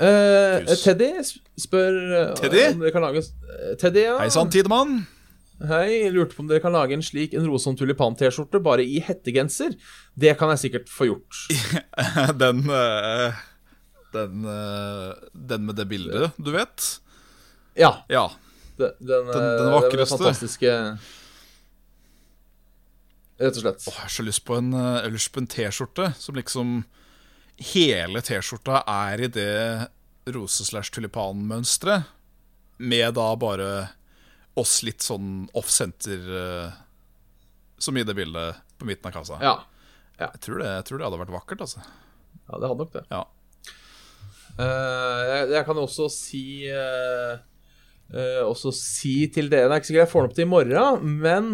Eh, Kus. Teddy sp- spør eh, Teddy? om det kan lages eh, Teddy, ja. Hei sann, Tidemann. Hei, jeg lurte på om dere kan lage en slik en rosom tulipan-T-skjorte, bare i hettegenser. Det kan jeg sikkert få gjort. Den eh, den, eh, den med det bildet, du vet? Ja, Ja. Den, den, eh, den den vakreste. fantastiske Rett og slett. Åh, jeg har så lyst på en eh, jeg har lyst på en T-skjorte som liksom Hele T-skjorta er i det rose-slash-tulipan-mønsteret, med da bare oss litt sånn off-senter eh, som i det bildet på midten av kassa. Ja. Jeg, tror det, jeg tror det hadde vært vakkert, altså. ja, det hadde nok det. Ja. Eh, jeg, jeg kan også si eh, eh, Også si til dere Det er ikke sikkert jeg får den opp til i morgen, men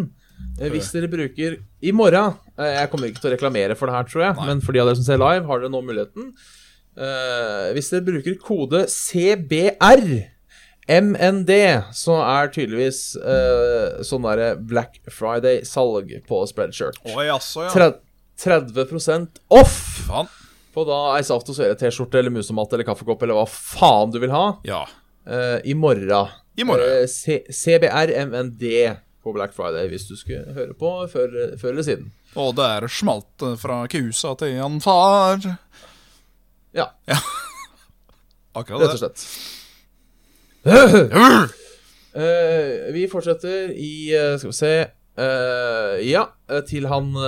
eh, hvis dere bruker I morgen eh, Jeg kommer ikke til å reklamere for det her, tror jeg, men for de av dere som ser live, har dere nå muligheten. Eh, hvis dere bruker kode CBR MND, så er tydeligvis eh, sånn derre Black Friday-salg på Spreadshirt. Oi, altså, Tre- 30 off! Faen. på da ei saft og svele T-skjorte eller musematt eller kaffekopp eller hva faen du vil ha Ja. eh, i morgen. I morgen. Eh, C- CBRMND på Black Friday hvis du skulle høre på før, før eller siden. Og det er smalt eh, fra kusa til han far. Ja, Akkurat rett det. og slett. Eh, vi fortsetter i eh, Skal vi se eh, Ja, eh, til han uh,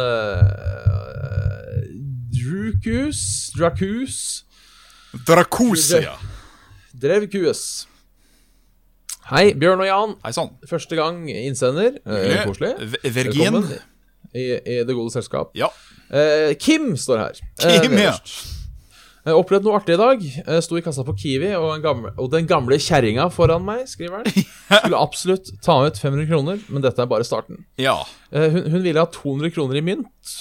Drukus Drakus Dracosia. Drevkus. Hei, Bjørn og Jan. Hei sann. Første gang innsender. Eh, koselig. V- Vergin. Velkommen i, i det gode selskap. Ja. Eh, Kim står her. Eh, Kim, ja. Jeg har opplevd noe artig i dag. Jeg sto i kassa på Kiwi, og, en gamle, og den gamle kjerringa foran meg, skriver han, skulle absolutt ta ut 500 kroner, men dette er bare starten. ja. Eh, Hun, hun ville ha 200 kroner i mynt,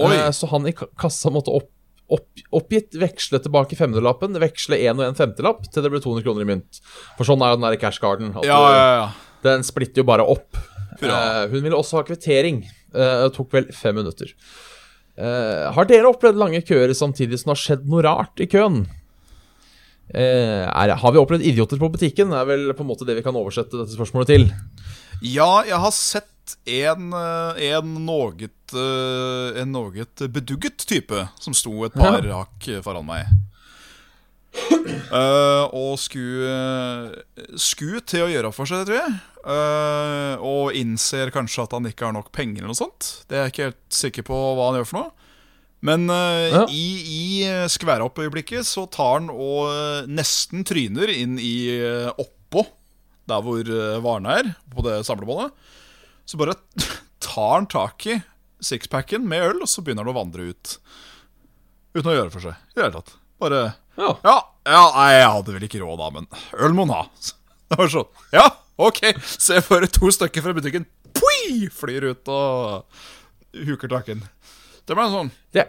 Oi. eh, så han i ka- kassa måtte opp, opp, oppgitt veksle tilbake 500-lappen, veksle en og en femtelapp til det ble 200 kroner i mynt. For sånn er jo den der cash garden. at Ja, du- ja, ja. den splitter jo bare opp. Hurra. Eh, hun ville også ha kvittering. Eh, det tok vel fem minutter. Eh, har dere opplevd lange køer samtidig som det har skjedd noe rart i køen? Eh, er, har vi opplevd idioter på butikken? Det er vel på en måte det vi kan oversette dette spørsmålet til. Ja, jeg har sett en, eh, en noget eh, En noget bedugget type som sto et par hakk foran meg. Eh, og skulle Skulle til å gjøre opp for seg, tror jeg. Eh, og innser kanskje at han ikke har nok penger eller noe sånt. Det er jeg ikke helt sikker på hva han gjør for noe. Men eh, Ja. i, i eh, skværopp-øyeblikket så tar han og eh, nesten tryner inn i eh, oppå der hvor eh, varene er, på det samlebåndet. Så bare tar han tak i sixpacken med øl, og så begynner han å vandre ut. Uten å gjøre for seg. I det hele tatt. Bare Ja. ja, ja nei, jeg hadde vel ikke råd da, men øl må han ha. Det var sånn. Ja, OK. Se for deg to stykker fra butikken. Pui! Flyr ut og huker takken. Det ble en sånn Det,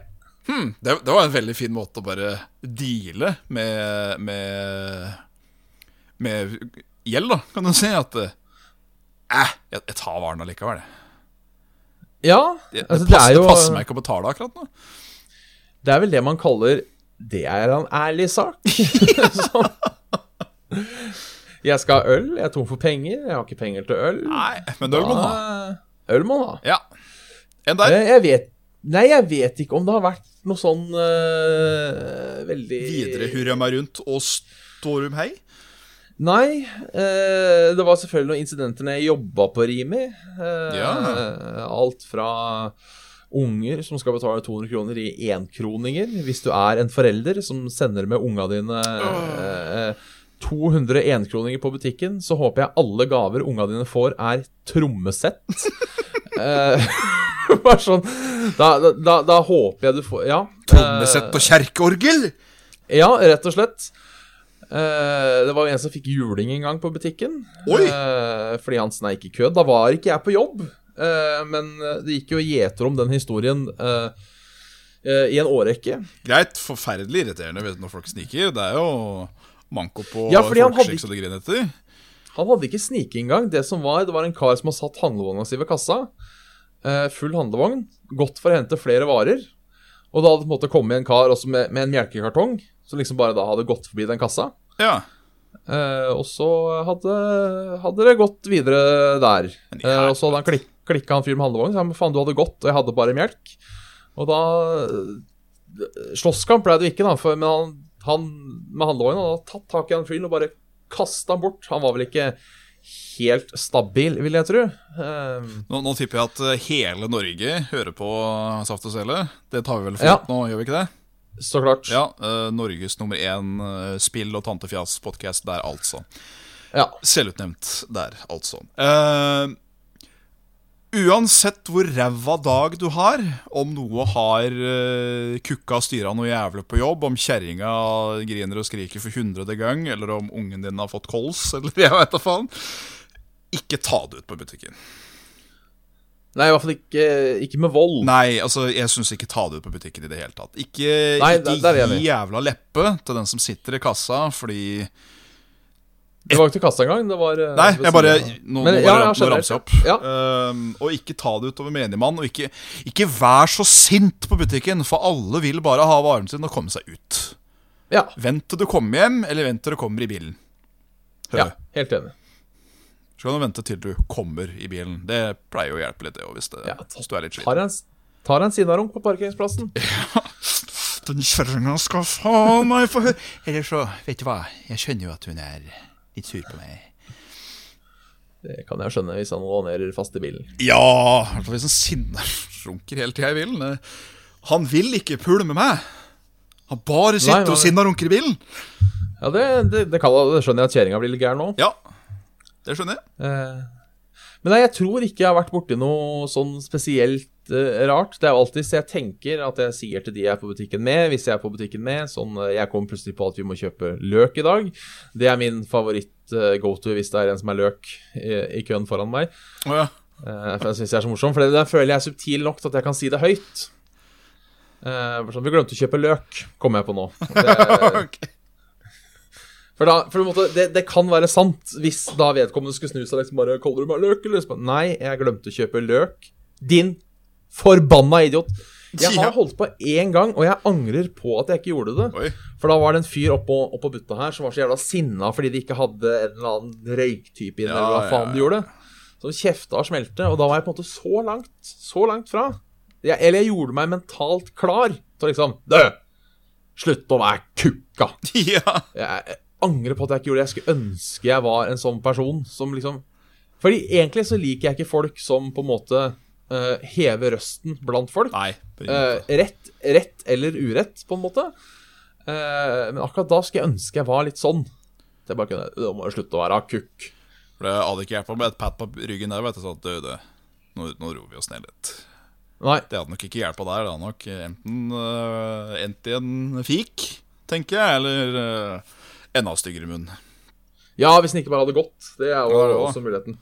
det, det var en veldig fin måte å bare deale med Med, med gjeld, da, kan du si. At eh, Æh, jeg, jeg tar varen allikevel. jeg. ja, Det, det, altså, det, passer, er jo det passer meg ikke å betale akkurat nå. Det er vel det man kaller Det er en ærlig sak. Sånn. jeg skal ha øl, jeg er tom for penger, jeg har ikke penger til øl. Nei, men det må man ha. Eh, Øl må man ha. Ja. En der. Eh, Jeg vet Nei, jeg vet ikke om det har vært noe sånn eh, veldig Videre hurrer jeg meg rundt og står um hei. Eh. Nei. eh, det var selvfølgelig noen incidenter når jeg jobba på Rimi. Eh, Alt fra unger som skal betale 200 kroner i enkroninger, hvis du er en forelder som sender med unga dine eh, 200 enkroninger på butikken, så håper jeg alle gaver unga dine får, er trommesett. Eh, bare sånn da, da- da, da håper jeg du får Ja. Eh, Trommesett og kjerkeorgel! Ja, rett og slett. Eh, det var jo en som fikk juling en gang på butikken. Oi! Eh, fordi han sneik i kø. Da var ikke jeg på jobb, eh, men det gikk jo gjeter om den historien eh, eh, i en årrekke. Greit, forferdelig irriterende vet du, når folk sniker. Det er jo manko på Ja, fordi han hadde folkeskikk så det griner etter. Han hadde ikke snikinngang. Det som var, det var en kar som har satt handlevogna si ved kassa. eh, full handlevogn. Gått for å hente flere varer. Og da hadde det på en måte kommet en kar også med, med en melkekartong, som liksom bare da hadde gått forbi den kassa. Ja. Eh, og så hadde, hadde det gått videre der. Eh, og så hadde han klik, klikka han fyren med handlevogn. Så han, faen, du hadde gått, og jeg hadde bare melk. Og da eh, Slåsskamp ble det jo ikke, da, for, men han, han med handlevogn hadde tatt tak i han fyren og bare kasta han bort. Han var vel ikke helt stabil, vil jeg tro. Eh, Nå, nå tipper jeg at eh, hele Norge hører på Saft og Sele. Det tar vi vel for Ja. gitt nå, gjør vi ikke det? så klart. Ja, eh, Norges nummer én eh, spill- og tantefjas-podkast der, altså. Ja. Selvutnevnt der, altså. Eh, uansett hvor ræva dag du har, om noe har eh, kukka og styra noe jævlig på jobb, om kjerringa griner og skriker for hundrede gang, eller om ungen din har fått kols, eller jeg veit da faen, ikke ta det ut på butikken. Nei, i hvert fall ikke, ikke med vold. Nei, altså, jeg syns ikke ta det ut på butikken i det hele tatt. Ikke, Nei, ikke der- der er jeg gi enig. jævla leppe til den som sitter i kassa, fordi Det var ikke kasta engang. Det var eh, Nei, ved jeg bare siden av. Nå, nå, Men, bare, ja, ja, nå generelt, ramser jeg opp. ja. Ehm, og ikke ta det utover menigmann. Og ikke, ikke vær så sint på butikken, for alle vil bare ha varen sin og komme seg ut. Ja. Vent til du kommer hjem, eller vent til du kommer i bilen. Hø. ja, helt enig. Så kan du vente til du kommer i bilen. Det pleier jo å hjelpe litt, det, og hvis, det, Ja, hvis du er litt sliten. Tar en, tar en sidarunk på parkeringsplassen. Den kjerringa skal faen meg få høre Eller så, vet du hva, jeg skjønner jo at hun er litt sur på meg. Det kan jeg skjønne hvis han onanerer fast i bilen. Ja, i hvert fall hvis han sinnarunker hele tida i bilen. Eh, Han vil ikke pule med meg. Han bare sitter nei. og sinnarunker i bilen. Ja, det, det, det, kan, det skjønner jeg at kjerringa blir litt gæren nå. Ja, det skjønner jeg. Eh, men nei, jeg tror ikke jeg har vært borti noe sånn spesielt eh, rart. Det er jo alltid så jeg tenker at jeg sier til de jeg er på butikken med, hvis jeg er på butikken med, sånn eh, jeg kom plutselig på at vi må kjøpe løk i dag. Det er min favoritt eh, go to hvis det er en som er løk i, i køen foran meg. Å ja. Eh, for jeg synes jeg er så morsom, for det der føler jeg er subtil nok til at jeg kan si det høyt. Eh, for sånn, vi glemte å kjøpe løk, kom jeg på nå. Det, Ok. For, da, for på en måte, det, det kan være sant hvis da vedkommende skulle snu seg liksom bare Kaller du meg løk, eller? Så bare, Nei, jeg glemte å kjøpe løk. Din forbanna idiot. Jeg Ja. har holdt på én gang, og jeg angrer på at jeg ikke gjorde det. Oi. For da var det en fyr oppå, oppå butta her som var så jævla sinna fordi de ikke hadde en eller annen røyktype inne, Ja, eller hva ja, faen de gjorde. Så kjefta og smelte, og da var jeg på en måte så langt, så langt fra. Jeg, eller jeg gjorde meg mentalt klar til å liksom Du! Slutt å være kukka! Ja. jeg angrer på at jeg ikke gjorde det. Jeg skulle ønske jeg var en sånn person som liksom Fordi egentlig så liker jeg ikke folk som på en måte eh, hever røsten blant folk. Nei. Eh, rett, rett eller urett, på en måte. Eh, men akkurat da skulle jeg ønske jeg var litt sånn. Det er bare kunne, Da må du slutte å være kukk. For det hadde ikke hjulpet med et pat på ryggen der. Vet du, sånn at du, det- Nå, nå roer vi oss ned litt. Nei. Det hadde nok ikke hjulpet der. Det hadde nok enten eh, endt i en fik, tenker jeg, eller eh, enda styggere munn. Ja, hvis den ikke bare hadde gått. Det er jo Ja, det var. også muligheten.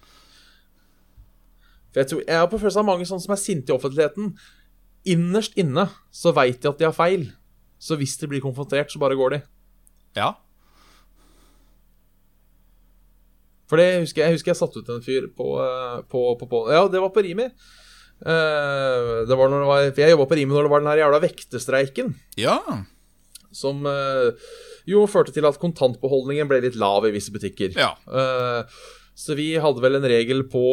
For jeg, tror, jeg har på følelsen av mange sånne som er sinte i offentligheten. Innerst inne så veit de at de har feil. Så hvis de blir konfrontert, så bare går de. Ja. For det husker jeg, jeg husker jeg satte ut en fyr på, eh, på, på, på Ja, det var på Rimi. Eh, det var når det var, for jeg jobba på Rimi når det var den her jævla vektestreiken. Ja. Som eh, jo førte til at kontantbeholdningen ble litt lav i visse butikker. Ja. Eh, så vi hadde vel en regel på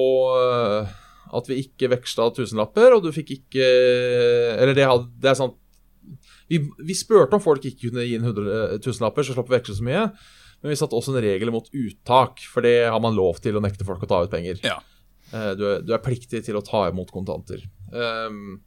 eh, at vi ikke veksla tusenlapper, og du fikk ikke Eller det, hadde, det er sant vi, vi spurte om folk ikke kunne gi inn hundre- eh, tusenlapper, så slapp vi å veksle så mye. Men vi satte også en regel mot uttak, for det har man lov til å nekte folk å ta ut penger. ja. Eh, Du er, du er pliktig til å ta imot kontanter. Ehm,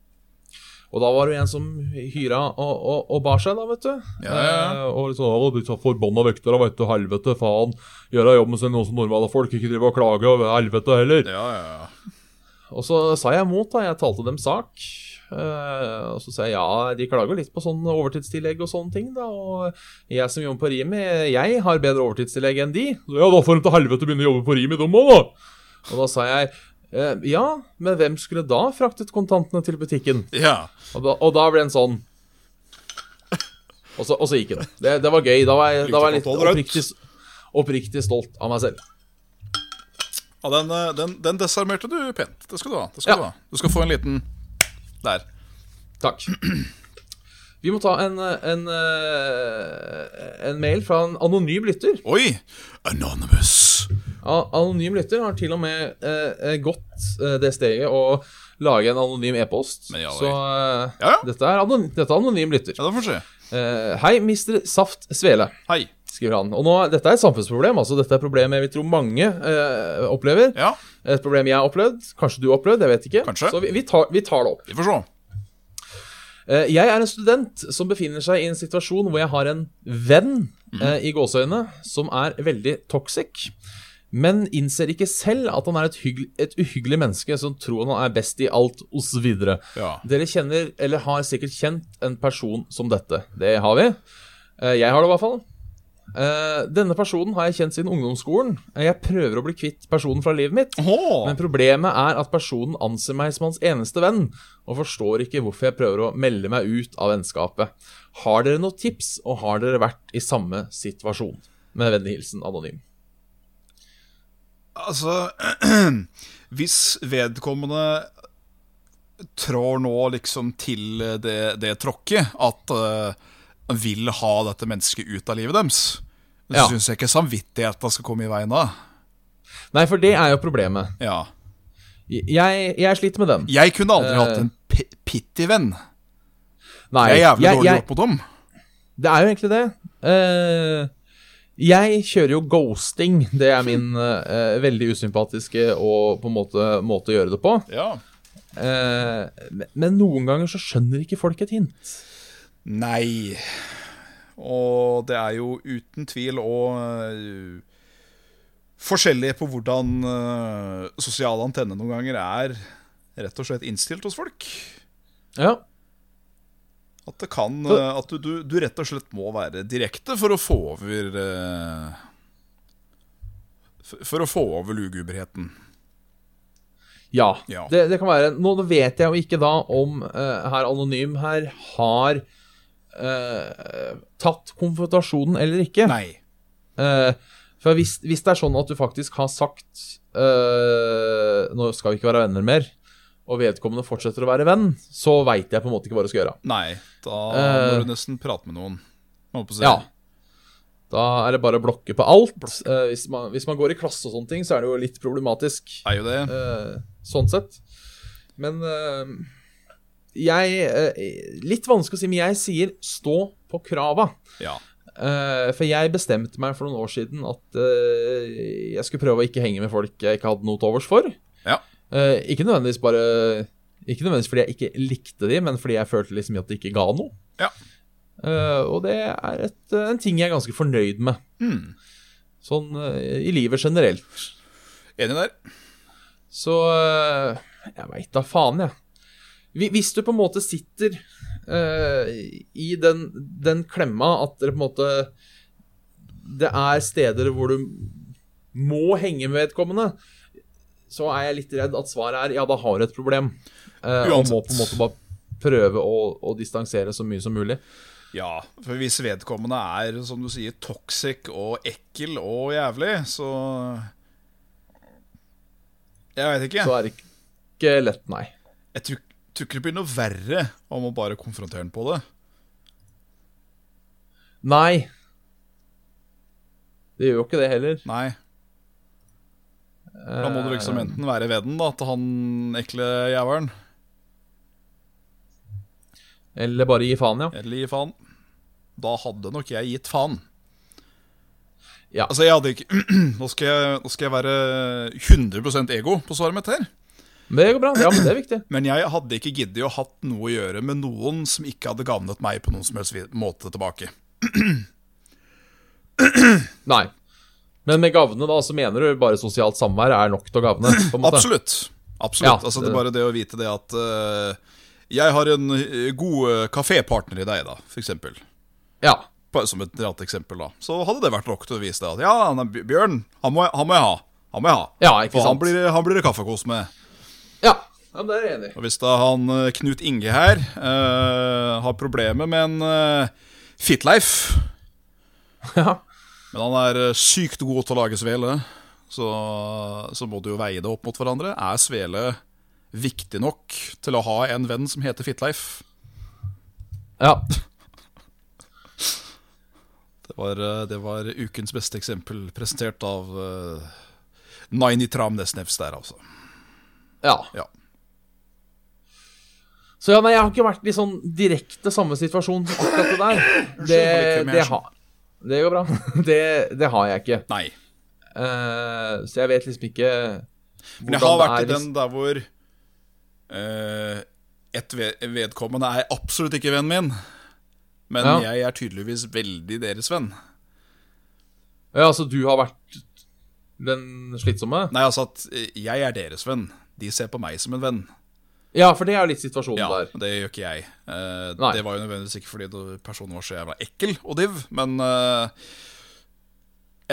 og da var det jo en som hyra og, og, og bar seg, da, vet du. Ja, ja, ja. Eh, og liksom, å, du tar forbanna vektere, vet du, helvete, faen. Gjør da jobben sin, noen som normale folk. Ikke driver og klager over helvete heller. Ja, ja, ja. Og så sa jeg imot, da. Jeg talte dem sak. Eh, og så sa jeg ja, de klager litt på sånn overtidstillegg og sånne ting, da. Og jeg som jobber på Rimi, jeg har bedre overtidstillegg enn de. Så, ja, da får de til helvete begynne å jobbe på Rimi, de òg, da. Og da sa jeg eh, ja, men hvem skulle da fraktet kontantene til butikken? ja. Og da, og da ble den sånn. Og så, og så gikk den. Det, det var gøy. Da var jeg, da var jeg litt oppriktig, oppriktig stolt av meg selv. Ja, den, eh, den, den desarmerte du pent. Det skal du ha. Det Ja. skal du, ha. du skal få en liten der. Takk. Vi må ta en, eh, en, eh, en mail fra en anonym lytter. Oi! Anonymous. A- Anonym lytter har til og med eh, eh, gått eh, det steget å lage en anonym e-post. Men ja vel. Så eh, Ja, ja. dette er anonym, dette er anonym lytter. Ja, da får vi se. Eh, hei, Mr. Saft Svele, Hei. skriver han. Og nå, dette er et samfunnsproblem. altså Dette er et problem jeg vil tro mange eh, opplever. Ja, Et problem jeg har opplevd. Kanskje du har opplevd, jeg vet ikke. Kanskje. Så vi, vi, tar, vi tar det opp. vi får se. Eh, Jeg er en student som befinner seg i en situasjon hvor jeg har en venn Mhm. eh, i gåseøyne som er veldig toxic, men innser ikke selv at han er et, hygg, et uhyggelig menneske som tror han er best i alt osv. Ja. Dere kjenner, eller har sikkert kjent, en person som dette. Det har vi. Eh, Jeg har det i hvert fall. Eh, Denne personen har jeg kjent siden ungdomsskolen. Eh, Jeg prøver å bli kvitt personen fra livet mitt. Åh, Men problemet er at personen anser meg som hans eneste venn, og forstår ikke hvorfor jeg prøver å melde meg ut av vennskapet. Har dere noen tips, og har dere vært i samme situasjon? Med vennlig hilsen anonym. altså Hvis vedkommende trår nå liksom til det, det tråkket at eh, han vil ha dette mennesket ut av livet deres, så Ja. syns jeg ikke samvittigheten skal komme i veien da. Nei, for det er jo problemet. Ja. Jeg, jeg sliter med den. Jeg kunne aldri hatt en pi- pitty-venn. Eh. Nei, Jeg er jævlig jeg, dårlig jeg, gjort mot dem. det er jo egentlig det. Eh, jeg kjører jo ghosting. Det er min eh, veldig usympatiske og på en måte, måte å gjøre det på. Ja. Eh, men- men noen ganger så skjønner ikke folk et hint. Nei. Og det er jo uten tvil og øh, Forskjellig på hvordan øh, sosiale antenner noen ganger er rett og slett innstilt hos folk. Ja, At det kan Så- øh, At du, du, du rett og slett må være direkte for å få over øh, f- For å få over luguberheten. Ja. Ja. Det, det kan være. Nå vet jeg jo ikke da om eh, her anonym her har eh, tatt konfrontasjonen eller ikke. Nei. Eh, for hvis, hvis det er sånn at du faktisk har sagt eh, Nå skal vi ikke være venner mer, og vedkommende fortsetter å være venn, så veit jeg på en måte ikke hva du skal gjøre. Nei. Da Eh. må du nesten prate med noen. Holdt på å si. Ja. Da er det bare å blokke på alt. Eh, hvis, man, hvis man går i klasse og sånne ting, så er det jo litt problematisk. Er jo det. Eh, sånn sett. Men eh, jeg eh, Litt vanskelig å si, men jeg sier stå på krava. Ja. Eh, for jeg bestemte meg for noen år siden at eh, jeg skulle prøve å ikke henge med folk jeg ikke hadde noe til overs for. Ja. Eh, ikke nødvendigvis bare Ikke nødvendigvis fordi jeg ikke likte de, men fordi jeg følte liksom at det ikke ga noe. Ja. Eh, og det er et, en ting jeg er ganske fornøyd med. Mm. Sånn eh, i livet generelt. Enig der. Så øh, jeg veit da faen, jeg. Hvi- Hvis du på en måte sitter øh, i den, den klemma at dere på en måte Det er steder hvor du må henge med vedkommende, så er jeg litt redd at svaret er ja, da har du et problem. Eh, og må Uansett. på en måte bare prøve å, å distansere så mye som mulig. Ja, for hvis vedkommende er, som du sier, toxic og ekkel og jævlig, så Jeg veit ikke. Så er det ikke lett, nei. Jeg tror, tror ikke det blir noe verre om å bare konfrontere den på det. Nei. Det gjør jo ikke det heller. Nei. Da må du liksom enten være vennen da, til han ekle jævelen, Eller bare gi faen, ja. eller gi faen. Da hadde nok jeg gitt faen. Ja. Altså, jeg hadde ikke Nå skal jeg, nå skal jeg være 100 ego på svaret mitt her. Det går bra. Ja, men det er viktig. Men jeg hadde ikke giddet å hatt noe å gjøre med noen som ikke hadde gagnet meg på noen som helst vi- måte tilbake. Nei. Men med gavne, da, så mener du bare sosialt samvær er nok til å gavne? på en måte? Absolutt. Ja, Absolutt. altså, det det- er bare det å vite det at eh, jeg har en eh, god eh, kafépartner i deg, da, for eksempel. Ja. Bare som et rart eksempel, da. Så hadde det vært nok til å vise deg at ja, nei, Bj- Bjørn, han må, jeg- han må jeg ha. Han må jeg ha. Ja, ikke For sant. han blir, han blir det kaffekos med. Ja, ja men det er jeg enig i. Og hvis da han eh, Knut Inge her eh, har problemer med en eh, fitleif Ja. Men han er eh, sykt god til å lage svele, så, så må du jo veie det opp mot hverandre. Er svele viktig nok til å ha en venn som heter Fittleif? ja. Det var, eh, det var ukens beste eksempel, presentert av eh, Naini Tram Nesnevs der, altså. Ja. Ja. Så ja, nei, jeg har ikke vært i sånn direkte samme situasjon som akkurat det der. Det, Unnskyld, Malik, det, jeg har- det går bra. Det, det har jeg ikke. Nei. Eh, så jeg vet liksom ikke Men jeg har hvordan vært det i er liksom. den der hvor eh, et ved- vedkommende er absolutt ikke vennen min, men Ja. jeg er tydeligvis veldig deres venn. liksom- Ja, altså, du har vært den slitsomme? Nei, altså at eh, jeg er deres venn. De ser på meg som en venn. Ja, for det er jo litt situasjonen Ja, der. Det gjør ikke jeg. Eh, Nei. det var jo nødvendigvis ikke fordi det- personen var så jævla ekkel og div, men eh,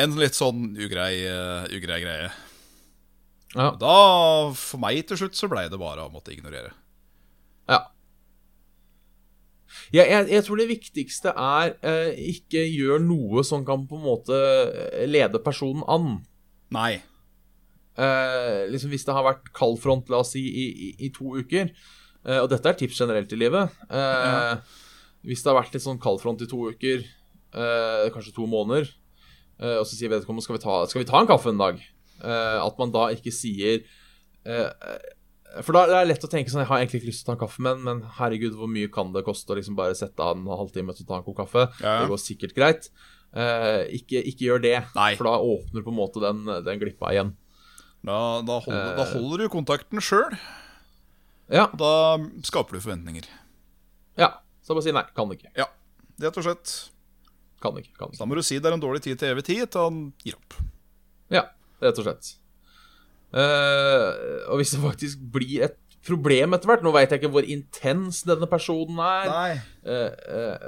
en litt sånn ugrei, eh, ugrei greie. Ja. Da, for meg til slutt, så blei det bare å måtte ignorere. Ja. Jeg, jeg, jeg tror det viktigste er eh, ikke gjør noe som kan på en måte eh, lede personen an. Nei. Eh, liksom Hvis det har vært kald front, la oss si, i, i, i to uker eh, Og dette er tips generelt i livet. Eh, Hvis det har vært litt sånn kald front i to uker, eh, kanskje to måneder, eh, og så sier vedkommende skal vi ta, skal vi ta en kaffe en dag, eh, at man da ikke sier eh, For da er det lett å tenke sånn Jeg har egentlig ikke lyst til å ta en kaffe, men, men herregud, hvor mye kan det koste å liksom bare sette av en halvtime til å ta en kopp kaffe? Ja. Det går sikkert greit. Eh, ikke, ikke gjør det, Nei. for da åpner på en måte den, den glippa igjen. Da, da, holder, Eh. da holder du kontakten sjøl. Ja, Da skaper du forventninger. ja. Så bare si nei. Kan ikke. Ja, rett og slett. Kan ikke. kan Så ikke. Da må du si det er en dårlig tid til evig tid, til han gir opp. Ja, rett og slett. Eh, og hvis det faktisk blir et problem etter hvert Nå veit jeg ikke hvor intens denne personen er. eh, eh,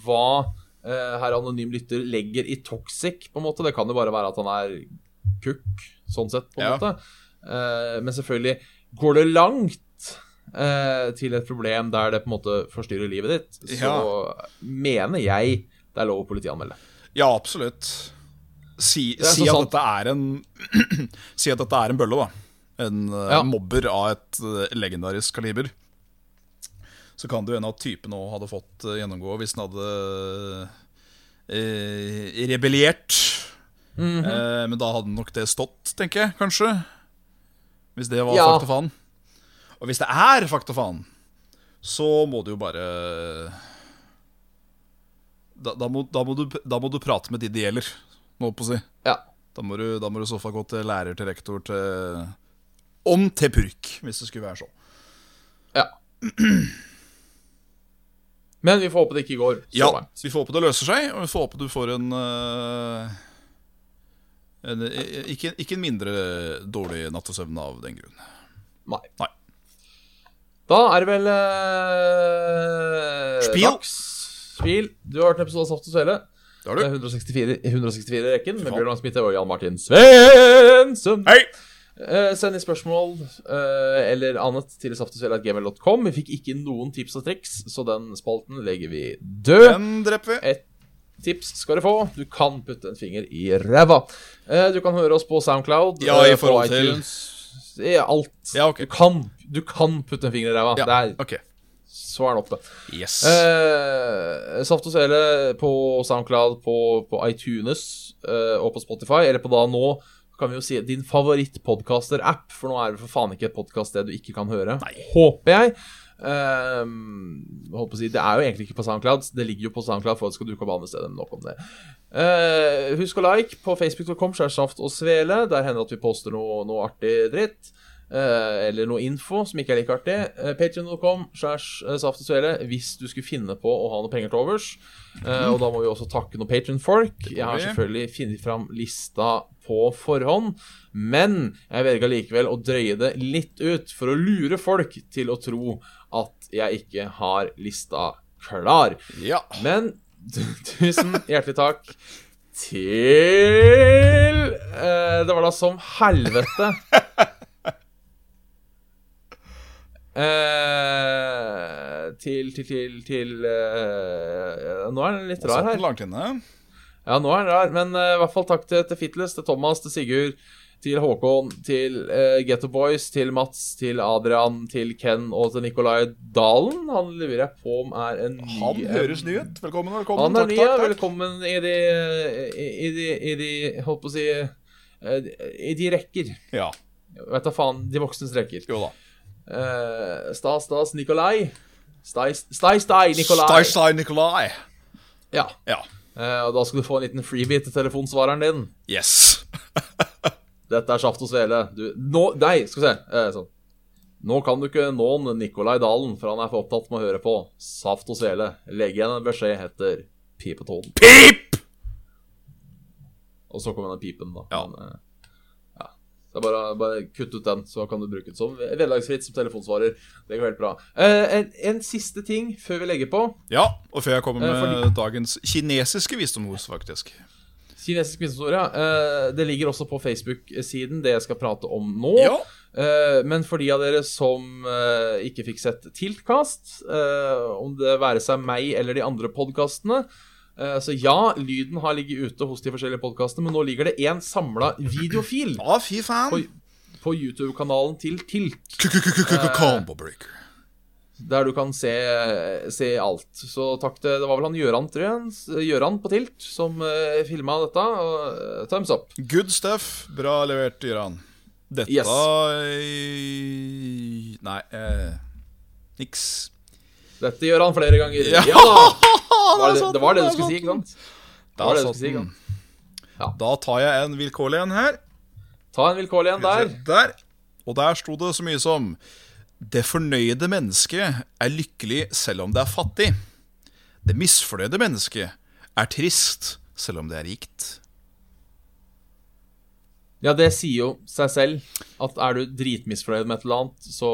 hva eh, herr anonym lytter legger i toxic, på en måte. Det kan jo bare være at han er kukk, sånn sett, på en Ja. måte. Eh, men selvfølgelig går det langt eh, til et problem der det på en måte forstyrrer livet ditt, så Ja. mener jeg det er lov å politianmelde. Ja, absolutt. Si, er si, så at sant. dette er en, si at dette er en bølle, da. En eh, Ja. mobber av et eh, legendarisk kaliber. Så kan det jo hende at typen òg hadde fått eh, gjennomgå hvis den hadde eh, rebellert. Eh, men da hadde nok det stått, tenker jeg, kanskje. Hvis det var Ja. fakta faen. Og hvis det er fakta faen, så må du jo bare da, da, må, da, må du, da må du prate med de det gjelder, må jeg på å si. Ja. Da må du, da må du i så fall gå til lærer, til rektor, til Om til purk, hvis det skulle være sånn. ja. Men vi får håpe det ikke går så Ja, langt. vi får håpe det løser seg, og vi får håpe du får en, eh, en eh, ikke, ikke en mindre dårlig nattesøvn av den grunn. Nei. Nei. Da er det vel eh, Spiel. dags. Spill. Du har hørt en episode av Saft og Svele. Det har Det du. er 164 164-rekken med faen. Bjørn Arne Smithe og Jan Martin Svendsen. Hei! Eh, send inn spørsmål eh, eller annet til saftogsvele.gmail.com. Vi fikk ikke noen tips og triks, så den spalten legger vi død. Den dreper vi. Et tips skal du få. Du kan putte en finger i ræva. Eh, du kan høre oss på Soundcloud. Ja, i eh, på forhold til- iTunes, i alt. Ja, ok. du, kan, du kan putte en finger i ræva. Ja, Der, ok. så er den oppe. Yes. Eh, Saft og Svele på SoundCloud, på, på iTunes eh, og på Spotify. Eller på da nå kan vi jo si din favorittpodkaster-app, for nå er det for faen ikke et podkast-sted du ikke kan høre. Nei. Håper jeg. Eh, holdt på å si, det er jo egentlig ikke på SoundCloud. Det ligger jo på SoundCloud for at det skal dukke opp andre steder. men Nok om det. Eh, husk å like på facebook.com skjær saft og svele. Der hender det at vi poster noe, noe artig dritt. eh, eller noe info som ikke er like artig. Uh, Patreon.com skjærs eh, saft og svele hvis du skulle finne på å ha noe penger til overs. Eh, og da må vi også takke noen Patreon-folk. Jeg har vi. selvfølgelig funnet fram lista på forhånd, men jeg velger likevel å drøye det litt ut for å lure folk til å tro at jeg ikke har lista klar. ja. Men tu- tusen hjertelig takk til eh, Det var da som helvete. Eh, til, til, til, til eh, Nå er den litt Satt rar den her. langt inne. Ja, nå er den rar, men eh, i hvert fall takk til, til Fitles, til Thomas, til Sigurd, til Håkon, til eh, Ghetto Boys, til Mats, til Adrian, til Ken og til Nikolai Dalen. Han lurer jeg på om er en ny Han en- høres ny ut. Velkommen, velkommen. Han er Takk, ny, takk, ja. takk. Velkommen i de I, i de, i de holdt på å si eh, I de rekker. Ja, Vet da faen. De voksnes rekker. jo da. Eh, stas, stas, Nikolai. Stei, stei, stei, Nikolai. Stai, stai, Nikolai. Ja. Ja. Eh, og da skal du få en liten freebie til telefonsvareren din. Yes. Dette er Saft og Svele. Du, nå, nei, skal vi se. Eh, sånn. Nå kan du ikke nå en Nikolai Dalen, for han er for opptatt med å høre på. Saft og Svele. Legg igjen en beskjed etter pipetonen. Pip! Og så kommer den pipen, da. Ja. Men, eh, ja. Så det er bare, bare kutt ut den, så kan du bruke den som vederlagsfritt som telefonsvarer. Det går helt bra. Eh, en, en siste ting før vi legger på. Ja, og før jeg kommer Eh, med fordi- dagens kinesiske visdomsord, faktisk. Kinesisk visdomsord, ja. Eh, Det ligger også på Facebook-siden, det jeg skal prate om nå. Ja. Eh, Men for de av dere som eh, ikke fikk sett Tiltkast, eh, om det være seg meg eller de andre podkastene eh, Så ja, lyden har ligget ute hos de forskjellige podkastene, men nå ligger det én samla videofil Å, fy faen. Oi. på YouTube-kanalen til Tilt, Combo breaker. der du kan se, se alt. Så takk til Det var vel han Gjøran, tror jeg, s- Gjøran på Tilt, som eh, filma dette. Og eh, thumbs up. Good stuff. Bra levert, Gøran. Dette Yes. eh, Nei eh, niks. Dette gjør han flere ganger. Ja. Ja! da! er Var det, sant, det var det det du er skulle si, ikke sant? Det var det du skulle si, ikke sant? Da tar jeg en vilkårlig en her. Ta en vilkårlig en der. Der. Og der sto det så mye som Det fornøyde mennesket er lykkelig selv om det er fattig. Det misfornøyde mennesket er trist selv om det er rikt. Ja, det sier jo seg selv at er du dritmisfornøyd med et eller annet, så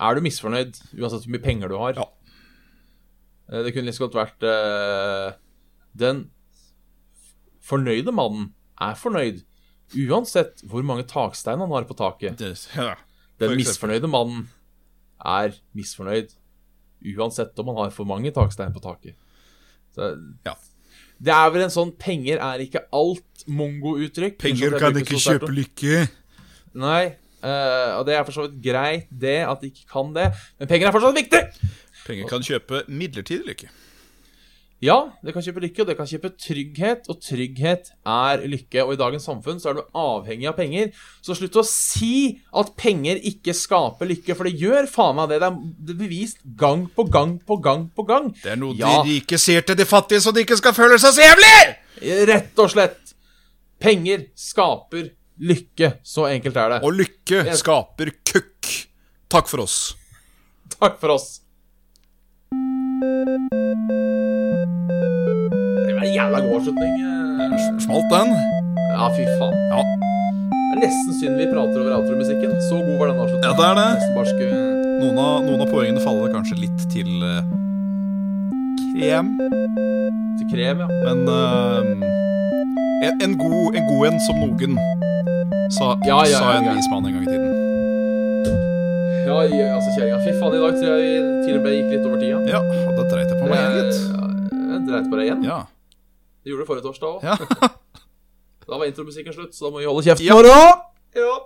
er du misfornøyd uansett hvor mye penger du har. Ja. Eh, Det kunne liksom godt vært eh, Den fornøyde mannen er fornøyd uansett hvor mange takstein han har på taket. Ja. Den For eksempel. misfornøyde mannen er misfornøyd uansett om han har for mange takstein på taket. Så, Ja. Det er vel en sånn 'penger er ikke alt' mongo-uttrykk. Unnskyld Penger at jeg kan bruker ikke så sterkt kjøpe ord. lykke. Nei, eh, og det er for så vidt greit, det, at de ikke kan det. Men penger er fortsatt viktig! Penger kan kjøpe midlertidig lykke. Ja, det kan kjøpe lykke, og det kan kjøpe trygghet, og trygghet er lykke. Og i dagens samfunn så er du avhengig av penger. Så slutt å si at penger ikke skaper lykke, for det gjør faen meg det. Det er- Det er bevist gang på gang på gang på gang. Det er noe Ja. de rike sier til de fattige, så de ikke skal føle seg så jævlig! Rett og slett. Penger skaper lykke. Så enkelt er det. Og lykke skaper kukk. Takk for oss. Takk for oss. Det var en jævla god avslutning. eh. Smalt den? Ja, fy faen. Ja. Det er nesten synd vi prater over outro-musikken. Så god var den Ja, avslutningen. det er det. Nesten bare skulle Noen av, noen av poengene faller kanskje litt til eh, krem, til krem, ja. men eh, en, en, god, en god en som noen, sa, Ja, ja, sa ja, en ja. vis mann en gang i tiden. Ja, ja, altså kjerringa. Fy faen, i dag tror jeg vi til og med gikk litt over tida. Ja, og det dreit jeg på meg igjen, gitt. Eh, Jeg dreit på deg igjen. Ja. Det gjorde det forrige torsdag òg. ja. Da var intromusikken slutt, så da må vi holde kjeften Ja. vår òg. Ja.